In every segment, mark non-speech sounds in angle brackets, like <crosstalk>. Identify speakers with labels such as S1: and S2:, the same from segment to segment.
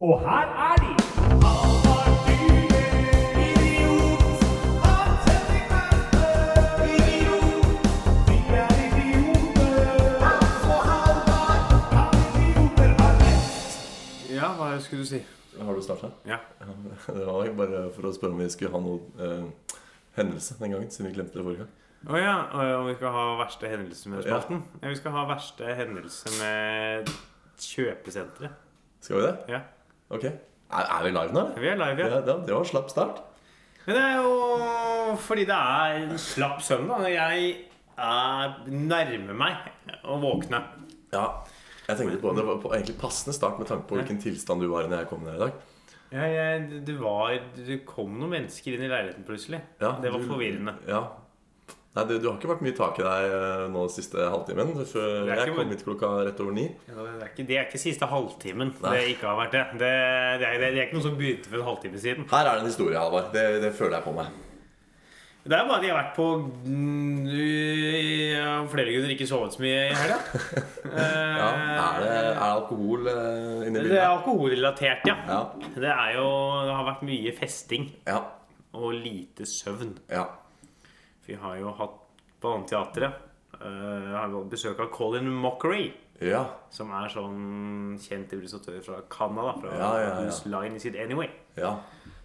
S1: Og her er de!
S2: Ja, hva skulle du si?
S3: Har du starta?
S2: Ja.
S3: <laughs> Det var jo bare for å spørre om vi skulle ha noen eh, hendelse den gangen, siden vi glemte det forrige gang.
S2: Å ja, og om vi skal ha verste hendelse med spalten? Ja, vi skal ha verste hendelse med kjøpesenteret.
S3: Skal vi det?
S2: Ja.
S3: Ok. Er, er vi live nå, eller?
S2: Vi er live, ja.
S3: Ja, det, det var slapp start.
S2: Men det er jo fordi det er en slapp søndag. og Jeg er nærmer meg å våkne.
S3: Ja. Jeg tenkte på, Det var på egentlig passende start med tanke på hvilken tilstand du var i når jeg kom ned i dag.
S2: Ja, jeg, det, var, det kom noen mennesker inn i leiligheten plutselig.
S3: Ja,
S2: det var
S3: du-
S2: forvirrende.
S3: Ja. Nei, du, du har ikke vært mye tak i deg eh, nå siste halvtimen.
S2: Det
S3: For
S2: er
S3: jeg
S2: ikke
S3: kom
S2: hvor-
S3: hit klokka rett over ni.
S2: Ja, Det er ikke, det er ikke siste halvtimen
S3: Nei.
S2: det ikke har vært det. Det, det, er, det er ikke noe som begynte for en halvtime siden.
S3: Her er det en historie, Halvard. Det, det føler jeg på meg.
S2: Det er bare at de har vært på mm, ja, Flere grunner ikke sovet så mye i helga.
S3: <laughs> Ja, Er det, er det alkohol
S2: Eh.
S3: eh, inni
S2: Det er
S3: bildet?
S2: alkoholrelatert, ja.
S3: Ja.
S2: Det, er jo, det har vært mye festing
S3: Ja.
S2: og lite søvn.
S3: ja.
S2: Vi har jo hatt Baneteatret. Uh, har jo besøk av Colin Mockery.
S3: ja.
S2: Som er sånn kjent illustratør fra Canada. Fra
S3: Ja, ja, ja.
S2: Whose Line Is It Anyway.
S3: ja.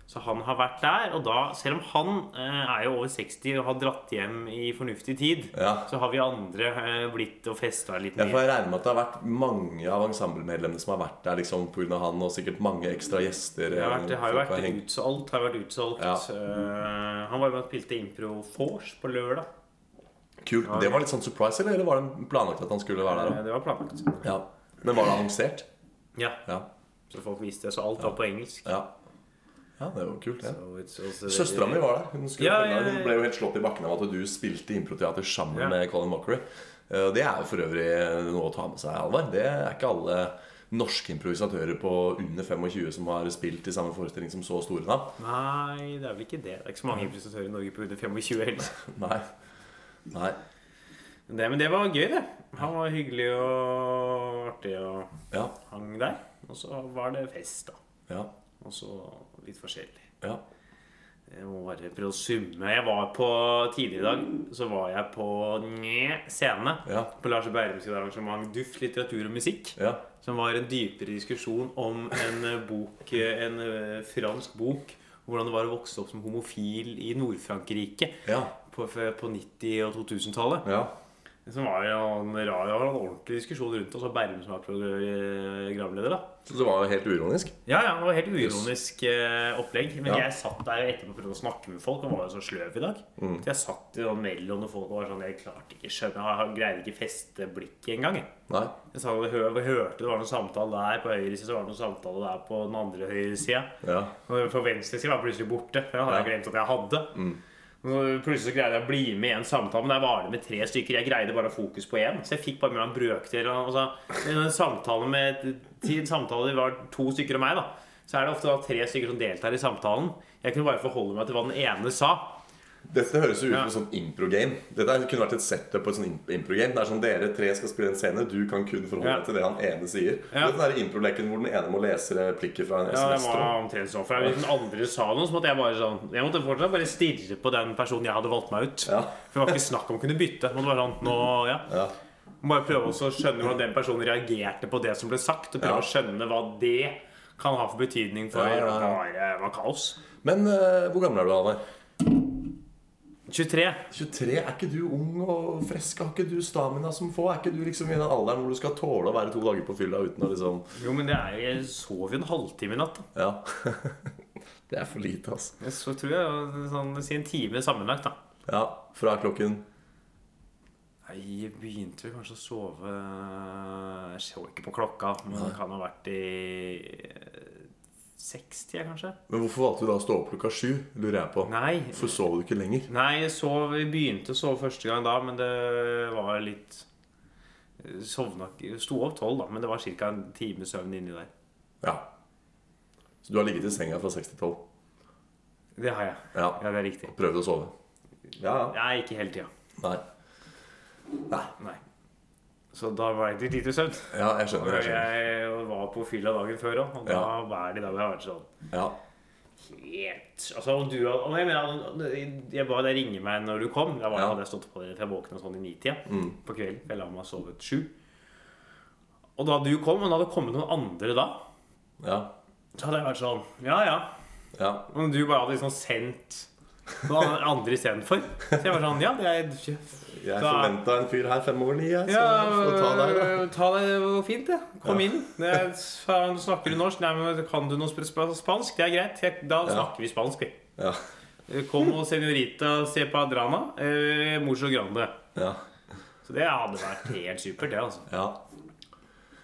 S2: Så han har vært der. Og da, selv om han eh, er jo over 60 og har dratt hjem i fornuftig tid,
S3: Ja.
S2: så har vi andre eh, blitt og festa litt
S3: Ja, for
S2: mer.
S3: jeg regner med at det har vært mange av ensemblemedlemmene som har vært der liksom pga. han, og sikkert mange ekstra gjester. eh,
S2: Det har, vært, det har jo
S3: folk
S2: vært
S3: hengt-
S2: utsolgt. Har vært utsolgt.
S3: Ja.
S2: Eh, han var med og spilte Impro Force på lørdag.
S3: Kult. Det var litt sånn surprise, eller, eller var det planlagt at han skulle være der?
S2: Eh, det var planlagt.
S3: da? Ja. Men var det annonsert?
S2: Ja,
S3: Ja.
S2: så folk visste det. Så alt var på engelsk.
S3: Ja, ja det var kult, det.
S2: So it's also-
S3: Søstera mi var der. Hun, skulle
S2: Ja,
S3: følge deg.
S2: ja, ja.
S3: hun ble jo helt slått i bakken av at du spilte improteater sammen
S2: Ja.
S3: med Colin Mockery. Eh, Det er jo for øvrig noe å ta med seg, Alvar. Det er ikke alle norske improvisatører på under 25 som har spilt i samme forestilling som så store navn.
S2: Nei, det er vel ikke det. Det er ikke så mange improvisatører i Norge på under 25 heller.
S3: Nei. Nei.
S2: Det, men det var gøy, det. Han var hyggelig og artig og
S3: Ja.
S2: hang der. Og så var det fest, da.
S3: Ja.
S2: Og så litt forskjellig.
S3: Ja.
S2: Jeg må bare prøve å summe. Jeg var på Tidligere i dag så var jeg på Nye scene.
S3: Ja.
S2: På Lars Bærum sitt arrangement Duft, litteratur og musikk.
S3: Ja.
S2: Som var en dypere diskusjon om en eh, bok eh, En eh, fransk bok. Hvordan det var å vokse opp som homofil i Nord-Frankrike
S3: Ja.
S2: på, på 90- og 2000-tallet.
S3: Ja.
S2: Som var jo en, rar, det var en ordentlig diskusjon rundt oss, og Bærum som var programleder, eh, da.
S3: Så det var jo helt uironisk.
S2: Ja, ja, det var helt uironisk eh, opplegg. Men
S3: Ja.
S2: jeg satt der jo etterpå og prøvde å snakke med folk, og var jo så sløv i dag. Så jeg satt jo mellom noen folk og var sånn Jeg klarte ikke skjønne Jeg greide ikke feste blikket engang. jeg.
S3: Nei.
S2: Jeg sa, jeg hør, jeg hørte det var noen samtale der på høyre side, så var det noen samtale der på den andre høyre sida.
S3: Ja.
S2: Og på venstre side var jeg plutselig borte. for Det hadde jeg
S3: Ja.
S2: glemt at jeg hadde. Så plutselig så greide jeg å bli med i en samtale, men der var det med tre stykker. Jeg greide bare å ha fokus på én, så jeg fikk bare med meg en brøkdel. og- og så- i En samtale med til en samtale det var to stykker og meg, da. Så er det ofte da tre stykker som deltar i samtalen. Jeg kunne bare forholde meg til hva den ene sa.
S3: Dette høres jo ut som
S2: Ja.
S3: et sånt impro-game. Dette er- kunne vært et setup på et sånt impro-game. Det er sånn Dere tre skal spille en scene. Du kan kun forholde
S2: Ja.
S3: deg til det han ene sier.
S2: Ja.
S3: Dette er impro-leken hvor den ene må lese replikker fra en
S2: Ja, det
S3: SMS.
S2: var
S3: tråd.
S2: omtrent sånn. For hvis den andre sa noe, så måtte jeg bare sånn Jeg måtte fortsatt bare stirre på den personen jeg hadde valgt meg ut.
S3: Ja.
S2: For det var ikke snakk om å kunne bytte. Det måtte være sånn, nå, ja.
S3: Ja.
S2: Må Bare prøve også å skjønne hvordan den personen reagerte på det som ble sagt. Og prøve å
S3: Ja.
S2: skjønne hva det kan ha for betydning for
S3: Ja, ja, ja.
S2: bare var kaos.
S3: Men eh, hvor gammel er du, Alvar?
S2: 23.
S3: 23? Er ikke du ung og frisk? Har ikke du stamina som få? Er ikke du liksom i den alderen hvor du skal tåle å være to dager på fylla uten å liksom
S2: Jo, men det er jo Jeg sov jo en halvtime i natt. da.
S3: Ja. <laughs> det er for lite, altså.
S2: Jeg så tror jeg sånn si en time sammenlagt, da.
S3: Ja. Fra klokken
S2: Nei, jeg begynte vel kanskje å sove Jeg så ikke på klokka, men det kan ha vært i eh, 60, kanskje?
S3: Men hvorfor valgte du da å stå opp klokka sju? Lurer jeg på.
S2: Nei.
S3: Hvorfor sov du ikke lenger?
S2: Nei, jeg sov, vi begynte å sove første gang da, men det var litt Sovna ikke Sto opp tolv, da, men det var ca. en times søvn inni der.
S3: Ja. Så du har ligget i senga fra seks til tolv?
S2: Det har jeg.
S3: Ja.
S2: Ja, det er riktig.
S3: Prøvd å sove? Ja.
S2: Nei, ikke hele tida.
S3: Nei. Nei.
S2: Nei. Så da var jeg litt lite søvn.
S3: Ja,
S2: Og
S3: jeg skjønner. jeg skjønner
S2: jeg var på fylla dagen før òg, og da
S3: Ja.
S2: var det da jeg har vært sånn
S3: ja.
S2: helt Altså, og du hadde og jeg, mener, jeg ba deg ringe meg når du kom. Da var,
S3: Ja. Mm.
S2: hadde jeg stått på dere til jeg våkna sånn i nitida på kvelden. for Jeg la meg sove til sju. Og da du kom, og det hadde kommet noen andre da,
S3: ja,
S2: så hadde jeg vært sånn Ja, ja.
S3: ja.
S2: Men du bare hadde liksom sendt noen andre istedenfor. Så jeg var sånn Ja, det er
S3: Jeg
S2: Da-
S3: forventa en fyr her fem over ni, jeg. Så
S2: Ja, eh,
S3: jeg får ta deg, da.
S2: ta deg, det var fint, det. Kom inn. Det er, faen, snakker du norsk? Nei, men kan du noe sp- sp- spansk? Det er greit. Jeg, da snakker vi spansk, vi.
S3: Ja.
S2: Kom og senorita se på Adrana. Eh, Morso Grande.
S3: Ja.
S2: Så det hadde vært helt supert, det, altså.
S3: ja.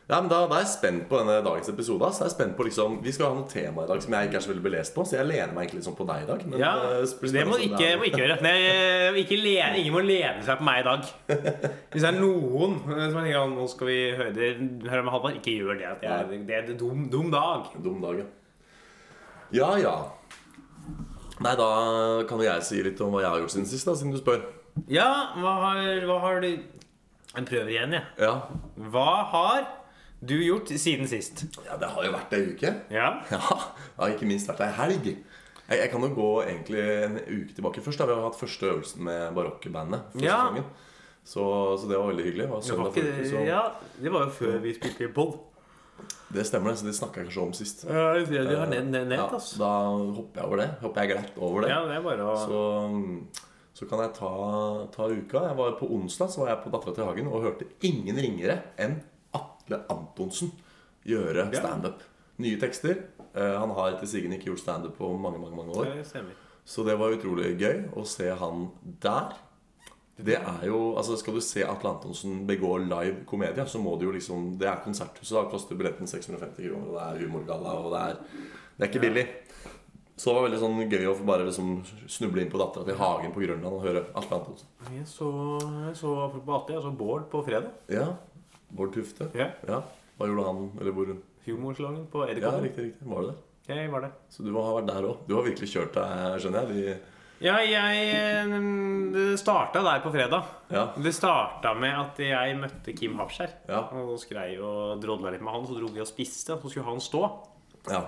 S3: Ja, men da, da er jeg spent på denne dagens episode. ass. Jeg er spent på liksom, Vi skal ha noe tema i dag som jeg ikke er så veldig belest på, så jeg lener meg egentlig liksom på deg i dag. Men
S2: Ja,
S3: eh, blir
S2: Det må
S3: spennende å se om
S2: ikke,
S3: er-
S2: må ikke gjøre. Det, ikke lene, ingen må lene seg på meg i <laughs> dag. Hvis det er noen eh, som tenker at nå skal vi høre det, høre med Halvard, ikke gjør det. Det er, det er en dum, dum dag.
S3: En dum dag, ja. Ja, ja. Nei, da kan jo jeg si litt om hva jeg har gjort siden sist, da, siden du spør.
S2: Ja, hva har, hva har du Jeg prøver igjen, jeg.
S3: Ja,
S2: Hva har du gjort siden sist?
S3: ja det har jo vært ei uke. <laughs>
S2: Ja.
S3: Ja, det har ikke minst vært ei helg. Jeg, jeg kan jo gå egentlig en uke tilbake først. da Vi har hatt første øvelsen med barokkbandet. for
S2: Ja.
S3: sesongen. Så, så det var veldig hyggelig. Det var
S2: Det var,
S3: søndag
S2: ikke,
S3: forrige uke, så
S2: ja, det var jo før vi spilte i pod.
S3: Det stemmer, det. Så det snakka jeg kanskje om sist.
S2: Ja, du har nett,
S3: Ja,
S2: altså.
S3: da hopper jeg over det. Hopper jeg glatt over det.
S2: Ja, det er bare å
S3: Så, så kan jeg ta, ta uka. Jeg var På onsdag så var jeg på Dattera til Hagen og hørte ingen ringere enn Atle Antonsen gjøre
S2: Ja.
S3: standup. Nye tekster. Eh, Han har etter sigende ikke gjort standup på mange mange, mange år.
S2: Det stemmer.
S3: Så det var utrolig gøy å se han der. Det er jo, altså Skal du se Atle Antonsen begå live komedie, så må du jo liksom Det er Konserthuset, da koster billetten 650 kroner, og det er humorgalla, og det er Det er ikke billig. Så det var veldig sånn gøy å få bare liksom snuble inn på dattera til Hagen på Grønland og høre Atle Antonsen.
S2: Jeg så, jeg så apropos Atle, jeg så Bård på fredag.
S3: Ja. Bård Tufte.
S2: Ja.
S3: Ja. Hva gjorde han, eller hvor?
S2: Humorsalongen på
S3: Ja,
S2: Edderkoppen.
S3: riktig, riktig. Var du der?
S2: jeg var det.
S3: Så du har vært der òg. Du har virkelig kjørt deg, skjønner jeg.
S2: Ja, jeg eh, Det starta der på fredag.
S3: De, ja.
S2: Det starta med at jeg møtte Kim Hafskjær.
S3: Ja.
S2: Og skrei og drodla litt med han, så dro vi og spiste, og så skulle han stå.
S3: Ja.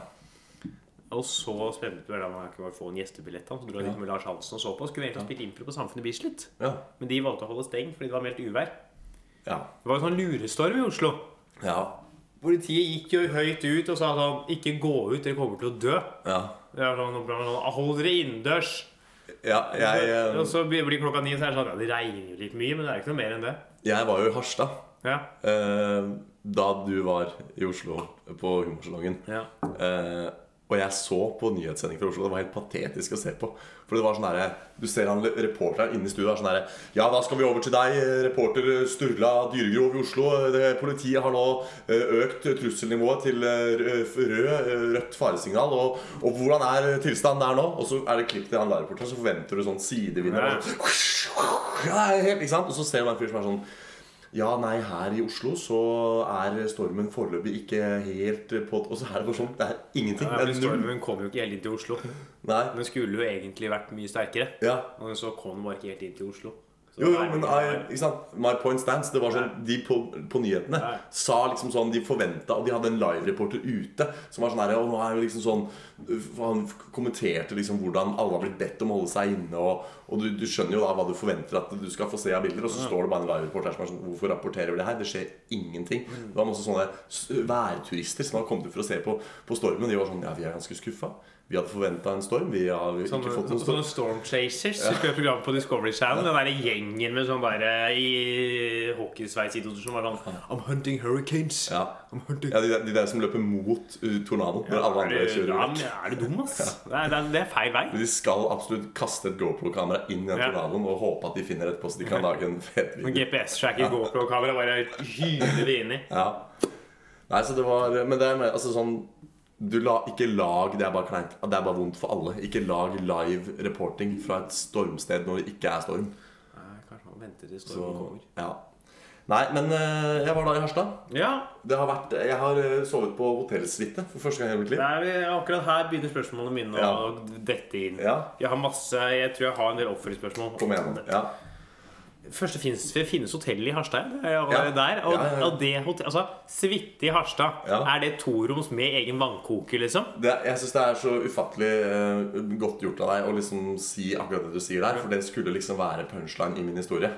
S2: Og så spente vi vel om han kunne få en gjestebillett. han, Så dro jeg litt med Lars Hansen og så på. Skulle egentlig ha spilt impro på Samfunnet Bislett,
S3: Ja.
S2: men de valgte å holde stengt fordi det var meldt uvær.
S3: Ja.
S2: Det var en sånn lurestorm i Oslo.
S3: Ja.
S2: Politiet gikk jo høyt ut og sa sånn Ikke gå ut, dere kommer til å dø.
S3: ja.
S2: Det er sånn, sånn, Hold dere innendørs.
S3: Ja, jeg,
S2: Og
S3: eh,
S2: så blir blir klokka ni, så er det sånn Ja, det regner jo litt mye, men det er ikke noe mer enn det.
S3: jeg var jo i Harstad
S2: Ja.
S3: eh, da du var i Oslo på Humorsalongen.
S2: ja.
S3: Eh, og jeg så på nyhetssending fra Oslo. Det var helt patetisk å se på. For det var sånn herre Du ser han reporteren inne i stua er sånn herre Ja, da skal vi over til deg, eh, reporter Sturla Dyregrov i Oslo. Det, politiet har nå eh, økt trusselnivået til eh, rød, rød- rødt faresignal. Og, og hvordan er eh, tilstanden der nå? Og så er det klipp til han reporteren, så forventer du sånn sidevinner.
S2: Ja.
S3: og Ja, helt, ikke sant? Og så ser du en fyr som er sånn ja, nei, her i Oslo så er stormen foreløpig ikke helt på Og så er det bare sånn. Det er ingenting.
S2: Ja,
S3: Det
S2: men
S3: er null.
S2: Stormen kom jo ikke helt inn til Oslo.
S3: Nei.
S2: Den skulle jo egentlig vært mye sterkere.
S3: Ja.
S2: Og så kom den bare ikke helt inn til Oslo. Så
S3: Jo, jo,
S2: det er
S3: men
S2: mye
S3: I,
S2: der.
S3: ikke sant? My point stands. Det var sånn, De på, på nyhetene
S2: Nei.
S3: sa liksom sånn De forventa Og de hadde en live-reporter ute som var sånn her Og nå er det liksom sånn øh, Han kommenterte liksom hvordan alle har blitt bedt om å holde seg inne. Og, og du, du skjønner jo da hva du forventer at du skal få se av bilder. Og så står det bare en live-reporter her som er sånn Hvorfor rapporterer vi det her? Det skjer ingenting. Det var masse sånne s- værturister som hadde kommet ut for å se på, på stormen. De var sånn Ja, vi er ganske skuffa. Vi hadde forventa en storm. Vi har ikke
S2: Sånne,
S3: fått noen storm.
S2: sånne Storm Chasers som skulle ha program på Discovery Channel. Den derre gjengen med sånn derre i hockeysveis i 2000 som var sånn I'm hunting hurricanes.
S3: Ja.
S2: I'm hunting
S3: Ja, de, der- de der som løper mot uh, tornadoen når alle andre
S2: er, du,
S3: kjører
S2: ja,
S3: vekk.
S2: men er du dum, ass? Det, er, det er- det er feil vei.
S3: <laughs> De skal absolutt kaste et GoPro-kamera inn i den
S2: Ja.
S3: tornadoen og håpe at de finner et post de kan lage en fet video.
S2: GPS-tracker, GoPro-kamera, bare hyler det inni.
S3: Ja. Nei, så det var Men det er mer altså sånn du la, ikke lag Det er bare kleint. Det er bare vondt for alle. Ikke lag live reporting fra et stormsted når det ikke er storm.
S2: Nei, Kanskje man venter til
S3: Så,
S2: stormen kommer.
S3: ja. Nei, men eh, jeg var da i Harstad.
S2: Ja,
S3: Det har vært, jeg har eh, sovet på hotellsuite for første gang i hele mitt
S2: det
S3: liv.
S2: er, eh, akkurat her begynner spørsmålene mine å
S3: Ja.
S2: dette inn.
S3: Ja.
S2: Jeg har masse, jeg tror jeg har en del oppfølgingsspørsmål.
S3: Kom igjen. Ja.
S2: Første finnes, det finnes hotell i Harstad. Jeg var
S3: Ja.
S2: der, og,
S3: Ja, ja, ja.
S2: og det hotell, altså, Suite i Harstad,
S3: Ja.
S2: er det toroms med egen vannkoker, liksom?
S3: det, jeg syns det er så ufattelig eh, godt gjort av deg å liksom si akkurat det du sier der. For det skulle liksom være punchline i min historie.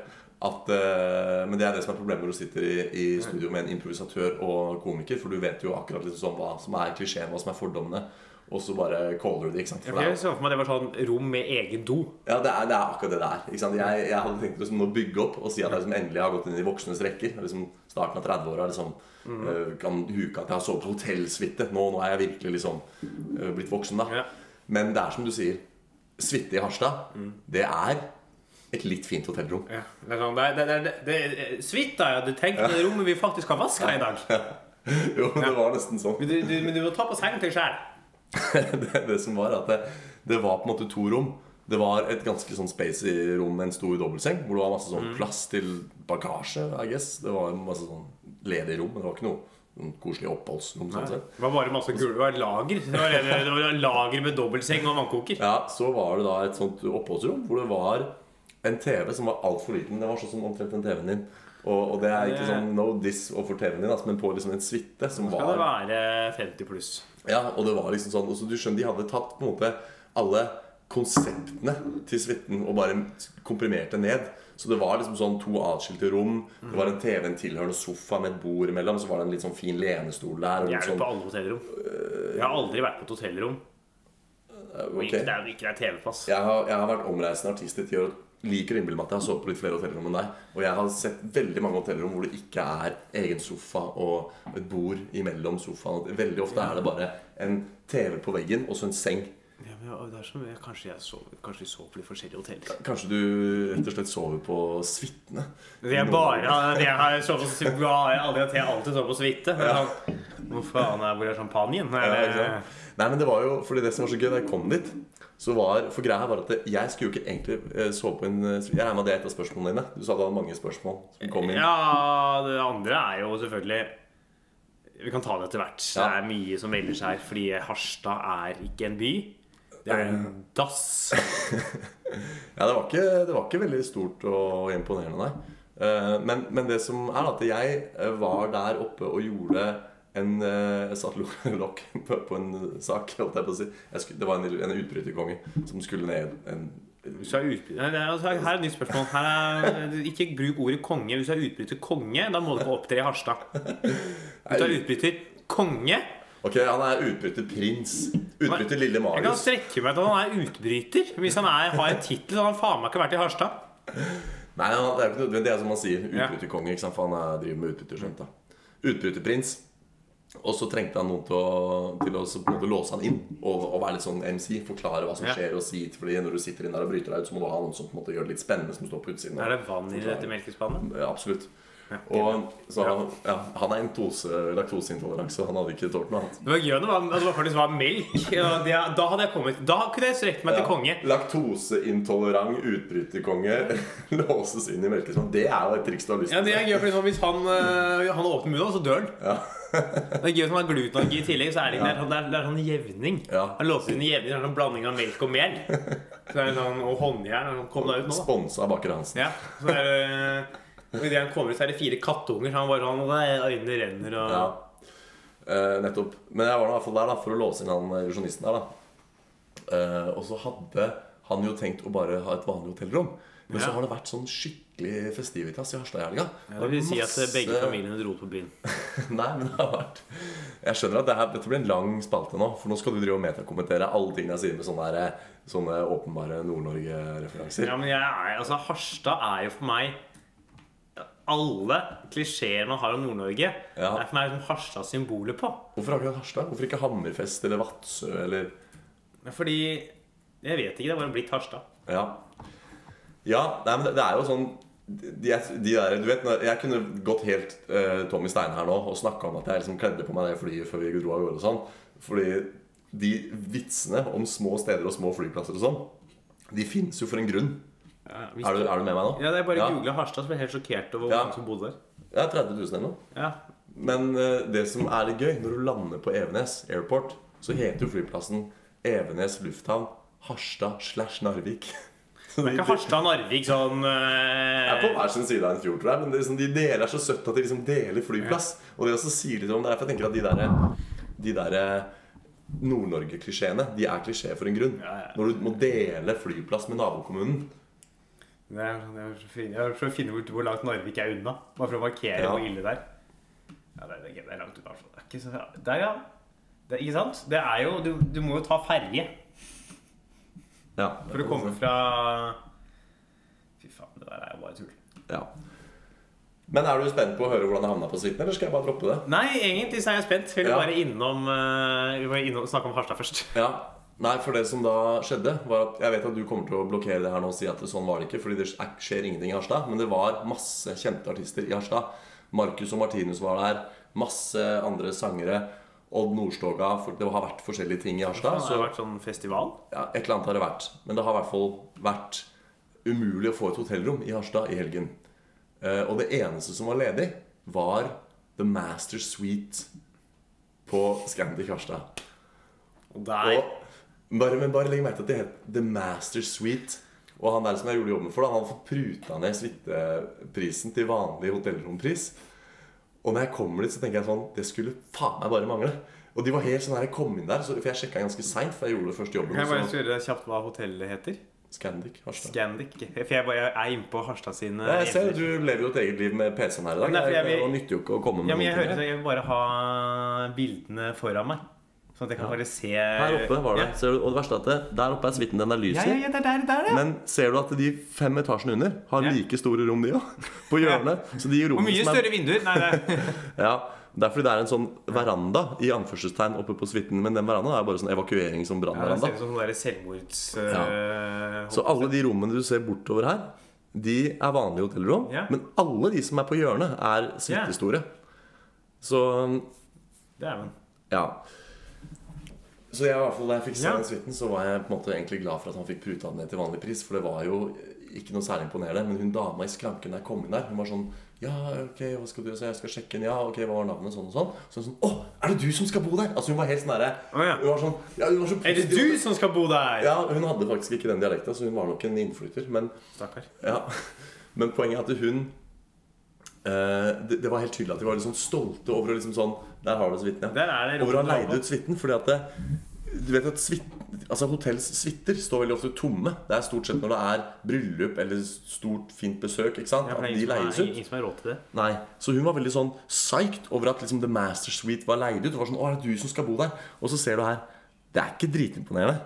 S3: At, eh, men det er det som er problemet når du sitter i, i studio med en improvisatør og komiker. For du vet jo akkurat liksom sånn hva som er klisjeen, hva som er fordommene. Og så bare caller du det. ikke sant? For det
S2: Jeg
S3: er,
S2: så for meg det var sånn rom med egen do.
S3: ja, det er, det er akkurat det det er. ikke sant? Jeg, jeg hadde tenkt liksom å bygge opp og si at jeg liksom endelig har gått inn i voksnes rekker. Liksom starten av 30-åra. Liksom,
S2: Mm.
S3: eh, kan huke at jeg har sovet på hotellsuite. Nå, nå er jeg virkelig liksom eh, blitt voksen, da.
S2: Ja. Mm.
S3: Men det er som du sier, suite i Harstad, det er et litt fint hotellrom.
S2: Ja, det er sånn, det, er- det, er- det, det, Suite, da. Ja, du tenkte det rommet vi faktisk har vaska i dag.
S3: <laughs> Jo, det var nesten sånn.
S2: Men du, du, men du må ta på sengen til sjæl.
S3: <laughs> Det, det som var at det, det var på en måte to rom. Det var et ganske sånn spacy rom med en stor dobbeltseng, hvor det var masse
S2: Mm.
S3: sånn plass til bagasje, I guess. Det var masse sånn ledig rom, men det var ikke noe sånn koselig oppholdsrom. sånn sett.
S2: Det var bare masse gul, det var lager. Det var, det var lager med dobbeltseng og vannkoker.
S3: Ja, så var det da et sånt oppholdsrom hvor det var en TV som var altfor liten. Det var sånn som omtrent den TV-en din. Og, og det er ikke
S2: Det-
S3: sånn no diss overfor TV-en din, altså, men på liksom en suite som
S2: Skal det
S3: var
S2: være 50 pluss?
S3: Ja, og det var liksom sånn og så Du skjønner, de hadde tatt på en måte alle konseptene til suiten og bare komprimert det ned. Så det var liksom sånn to atskilte rom. Det var en TV, en tilhørende sofa med et bord imellom. Så var det en litt sånn fin lenestol der. Og
S2: Jeg
S3: litt
S2: er jo
S3: sånn,
S2: på alle hotellrom. Jeg har aldri vært på et hotellrom. Og
S3: sånn, eh, ok.
S2: ikke det er, ikke det er TV-pass.
S3: jeg, har, jeg har vært omreisende artist i ti år. og Liker å innbille meg at jeg har sovet på litt flere hotellrom enn deg. Og jeg har sett veldig mange hotellrom hvor det ikke er egen sofa og et bord imellom sofaen. Veldig ofte er det bare en TV på veggen og så en seng.
S2: Ja, men jeg- det er som, jeg, kanskje jeg sov, kanskje vi sov på litt forskjellige hoteller.
S3: Kanskje du rett og slett sover på suitene?
S2: Det er bare det jeg har sovet på suite. Jeg har aldri hatt- jeg har alltid sovet på suite. Det er sånn, Hvor faen er, hvor er champagnen? Er
S3: Ja, ikke
S2: det,
S3: sant? Nei, men det var jo Fordi det som var så gøy da jeg kom dit så var, For greia var at det- jeg skulle jo ikke egentlig eh, sove på en eh, Jeg regner med at det er et av spørsmålene dine. Du sa du hadde mange spørsmål som kom inn.
S2: ja, det andre er jo selvfølgelig Vi kan ta det etter hvert. Det
S3: Ja.
S2: er mye som melder seg her, fordi Harstad er ikke en by. Det er en dass.
S3: Ja, det var ikke, det var ikke veldig stort og imponerende, nei. Eh, Men, men det som er at jeg eh, var der oppe og gjorde en eh, Jeg satt lo- lokk <laughs> på på en sak, holdt jeg på å si. Jeg skulle, det var en, en utbryterkonge som skulle ned en
S2: Hvis du er utbryter, Nei, nei, altså, her er et nytt spørsmål. Her er, eh, ikke bruk ordet konge. Hvis du er utbryter konge, da må du ikke opptre i Harstad. Hvis du er utbryter konge
S3: Ok, han er utbryterprins. Utbryter
S2: Jeg
S3: Lille
S2: kan
S3: Marius.
S2: strekke meg til at han er utbryter. Hvis han er, har en tittel, så har han faen meg ikke vært i Harstad.
S3: Nei, han- det er jo ikke nødvendig. Det er som man sier.
S2: Ja.
S3: Utbryterkonge. ikke sant? For han er, driver med utbryterskjønt. da. Utbryterprins. Og så trengte han noen til å, til å så på en måte låse han inn og, og være litt sånn MC. Forklare hva som
S2: Ja.
S3: skjer. og si Fordi når du sitter inn der og bryter deg ut, så må du ha noen som på en måte gjør det litt spennende. Som står på utsiden. og
S2: Er det vann i dette melkespannet?
S3: Ja, Absolutt. Og så han, ja, han er intose, laktoseintolerant, så han hadde ikke tålt noe annet.
S2: Det var gøy når det var- at det faktisk var melk. og det, da hadde jeg kommet Da kunne jeg strekke meg til konge.
S3: Laktoseintolerant utbryterkonge <laughs> låses inn i melkespann. Det er jo et triks du har lyst
S2: Ja,
S3: til.
S2: det er gøy, for liksom, Hvis han, øh, han åpner munnen, så dør han. det er gøy som har glutenallergi i tillegg. Så er det, ikke, det, er, sånn- det, er, det er sånn jevning.
S3: Ja.
S2: Han låser inn i jevning. Det er sånn blanding av melk og mel. Så er det sånn, Og håndjern. og sånn, Kom deg ut nå, da.
S3: Sponsa av Baker Hansen.
S2: Ja, så er det, og Idet han kommer ut, så er det fire kattunger. Så han bare sånn, og da er øynene renner og
S3: Ja. Eh, nettopp. Men jeg var i hvert fall der da for å låse inn han eh, illusjonisten der. da Eh, Og så hadde han jo tenkt å bare ha et vanlig hotellrom. Men
S2: Ja.
S3: så har det vært sånn skikkelig festivitas i Harstad i helga.
S2: Det vil si at eh,
S3: Masse-
S2: begge familiene dro på byen.
S3: Nei, men det har vært Jeg skjønner at det her, dette blir en lang spalte nå. For nå skal du drive og metakommentere alle tingene jeg sier med sånne, der, sånne åpenbare Nord-Norge-referanser.
S2: Ja, men jeg er, altså Harstad er jo for meg Alle klisjeer man har om Nord-Norge,
S3: Ja.
S2: er for meg liksom Harstad symbolet på.
S3: Hvorfor akkurat Harstad? Hvorfor ikke Hammerfest eller Vadsø eller
S2: Fordi Jeg vet ikke. Det har bare blitt Harstad.
S3: Ja. ja nei, men det, det er jo sånn de, de der, du vet, når- Jeg kunne gått helt eh, Tommy Stein her nå og snakka om at jeg liksom kledde på meg det flyet før vi dro av gårde. og sånn Fordi de vitsene om små steder og små flyplasser og sånn, de fins jo for en grunn.
S2: Ja,
S3: Er du, er du med meg nå?
S2: ja, det er bare
S3: ja.
S2: å google Harstad, så blir jeg helt sjokkert over hvor
S3: Ja.
S2: mange som bodde der.
S3: Ja, 30 000 eller noe.
S2: Ja.
S3: Men eh, det som er litt gøy, når du lander på Evenes airport, så heter jo flyplassen Evenes lufthavn Harstad slash Narvik. <laughs>
S2: Det er ikke Harstad Narvik sånn eh,
S3: er på hver sin side av en fjord, tror jeg. Men det er liksom, de deler er så søtt at de liksom deler flyplass. Og det også sier litt om det. er derfor jeg tenker at de der, de der eh, Nord-Norge-klisjeene De er klisjé for en grunn.
S2: Ja, ja.
S3: Når du må dele flyplass med nabokommunen.
S2: Det er, det er så fin- jeg prøver å finne ut hvor langt Narvik er unna. Bare for å markere
S3: Ja.
S2: hvor ille det er. Ja, det, det, det er langt unna. altså. Det er ikke så, der, ja. Det, ikke sant? Det er jo Du, du må jo ta ferje
S3: Ja.
S2: for å komme fra Fy faen, det der er jo bare tull.
S3: Ja. Men er du spent på å høre hvordan jeg havna på suiten, eller skal jeg bare droppe det?
S2: Nei, egentlig så er jeg spent. Vi vil
S3: Ja.
S2: bare innom, eh, vi må innom snakke om Harstad først.
S3: Ja, nei, for det som da skjedde var at Jeg vet at du kommer til å blokkere det her nå og si at det sånn var det ikke, fordi det er- skjer ingenting i Harstad. Men det var masse kjente artister i Harstad. Marcus og Martinus var der. Masse andre sangere. Odd Nordstoga. for- Det har vært forskjellige ting i
S2: Det
S3: Harstad.
S2: har
S3: Så
S2: vært sånn festival.
S3: ja, et eller annet har det vært. Men det har i hvert fall vært umulig å få et hotellrom i Harstad i helgen. Eh, Og det eneste som var ledig, var The Master Suite på Scandic Harstad.
S2: Og der
S3: Og bare, men bare legg merke til at det het The Master Suite. Og han der som jeg gjorde jobben for, da, han hadde fått pruta ned suiteprisen til vanlig hotellrompris. Og når jeg kommer dit, så tenker jeg sånn Det skulle faen meg bare mangle. Og de var helt sånn her, jeg kom inn der, så, for jeg sjekka ganske seint, for jeg gjorde det første jobben.
S2: Kan jeg bare
S3: så-
S2: spørre kjapt hva hotellet heter?
S3: Scandic, Harstad.
S2: Scandic. For jeg bare er innpå Harstad sine
S3: Ja, jeg ser
S2: hjemmesider.
S3: du lever jo et eget liv med PC-en her i dag.
S2: Nei, for jeg vil-
S3: Det nytter jo ikke å komme med
S2: Ja, men jeg
S3: noen ting
S2: hører
S3: her.
S2: så Jeg vil bare ha bildene foran meg. Sånn at jeg kan bare se
S3: Her oppe var det. Ser du, og det verste er at det, der oppe er suiten. Den er lys i.
S2: Ja, ja, ja, ja det er der, det er der, ja.
S3: Men ser du at de fem etasjene under har
S2: Ja.
S3: like store rom, de òg? <laughs> På hjørnet. Så de
S2: Og
S3: rommene
S2: mye
S3: som er-
S2: større vinduer. Nei,
S3: <laughs>
S2: det er
S3: Ja, det er fordi det er en sånn veranda i anførselstegn oppe på suiten, men den verandaen er bare sånn evakuering som
S2: ja, Det ser
S3: brannveranda.
S2: ut som sånn der selvmords...
S3: Ja.
S2: øh,
S3: Så alle de rommene du ser bortover her, de er vanlige hotellrom,
S2: Ja.
S3: men alle de som er på hjørnet, er suitestore. Så
S2: Det er man.
S3: ja. Så jeg, i hvert fall, da jeg fikk se
S2: Ja.
S3: den suiten, så var jeg på en måte egentlig glad for at han fikk pruta den ned til vanlig pris. For det var jo ikke noe særlig imponerende. Men hun dama i skranken der kom inn der, hun var sånn Ja, ok, hva skal du gjøre? Så jeg skal sjekke inn. Ja, ok, hva var navnet? Sånn og sånn. Så hun sånn Å, er det du som skal bo der? Altså, hun var helt sånn derre
S2: Å, ja.
S3: Hun var sånn Ja, hun var så
S2: Er det
S3: positiv.
S2: du som skal bo der?
S3: Ja, hun hadde faktisk ikke den dialekta, så hun var nok en innflytter. Men
S2: Stakkar.
S3: ja, men poenget er at hun eh, det, det var helt tydelig at de var liksom stolte over å liksom sånn Der har du suiten, ja.
S2: Der er det
S3: Og hvor han
S2: rommet
S3: leide ut suiten. Fordi at det, du vet at suiten Altså Hotells suiter står veldig ofte tomme. Det er stort sett når det er bryllup eller stort, fint besøk. ikke sant?
S2: Ja, for
S3: At
S2: det er
S3: de
S2: ingen som
S3: leies
S2: har-
S3: ut.
S2: ingen som har råd til det.
S3: Nei, Så hun var veldig sånn psyched over at liksom The Master Suite var leid ut. Det var sånn, å, er det du som skal bo der? Og så ser du her. Det er ikke dritimponerende.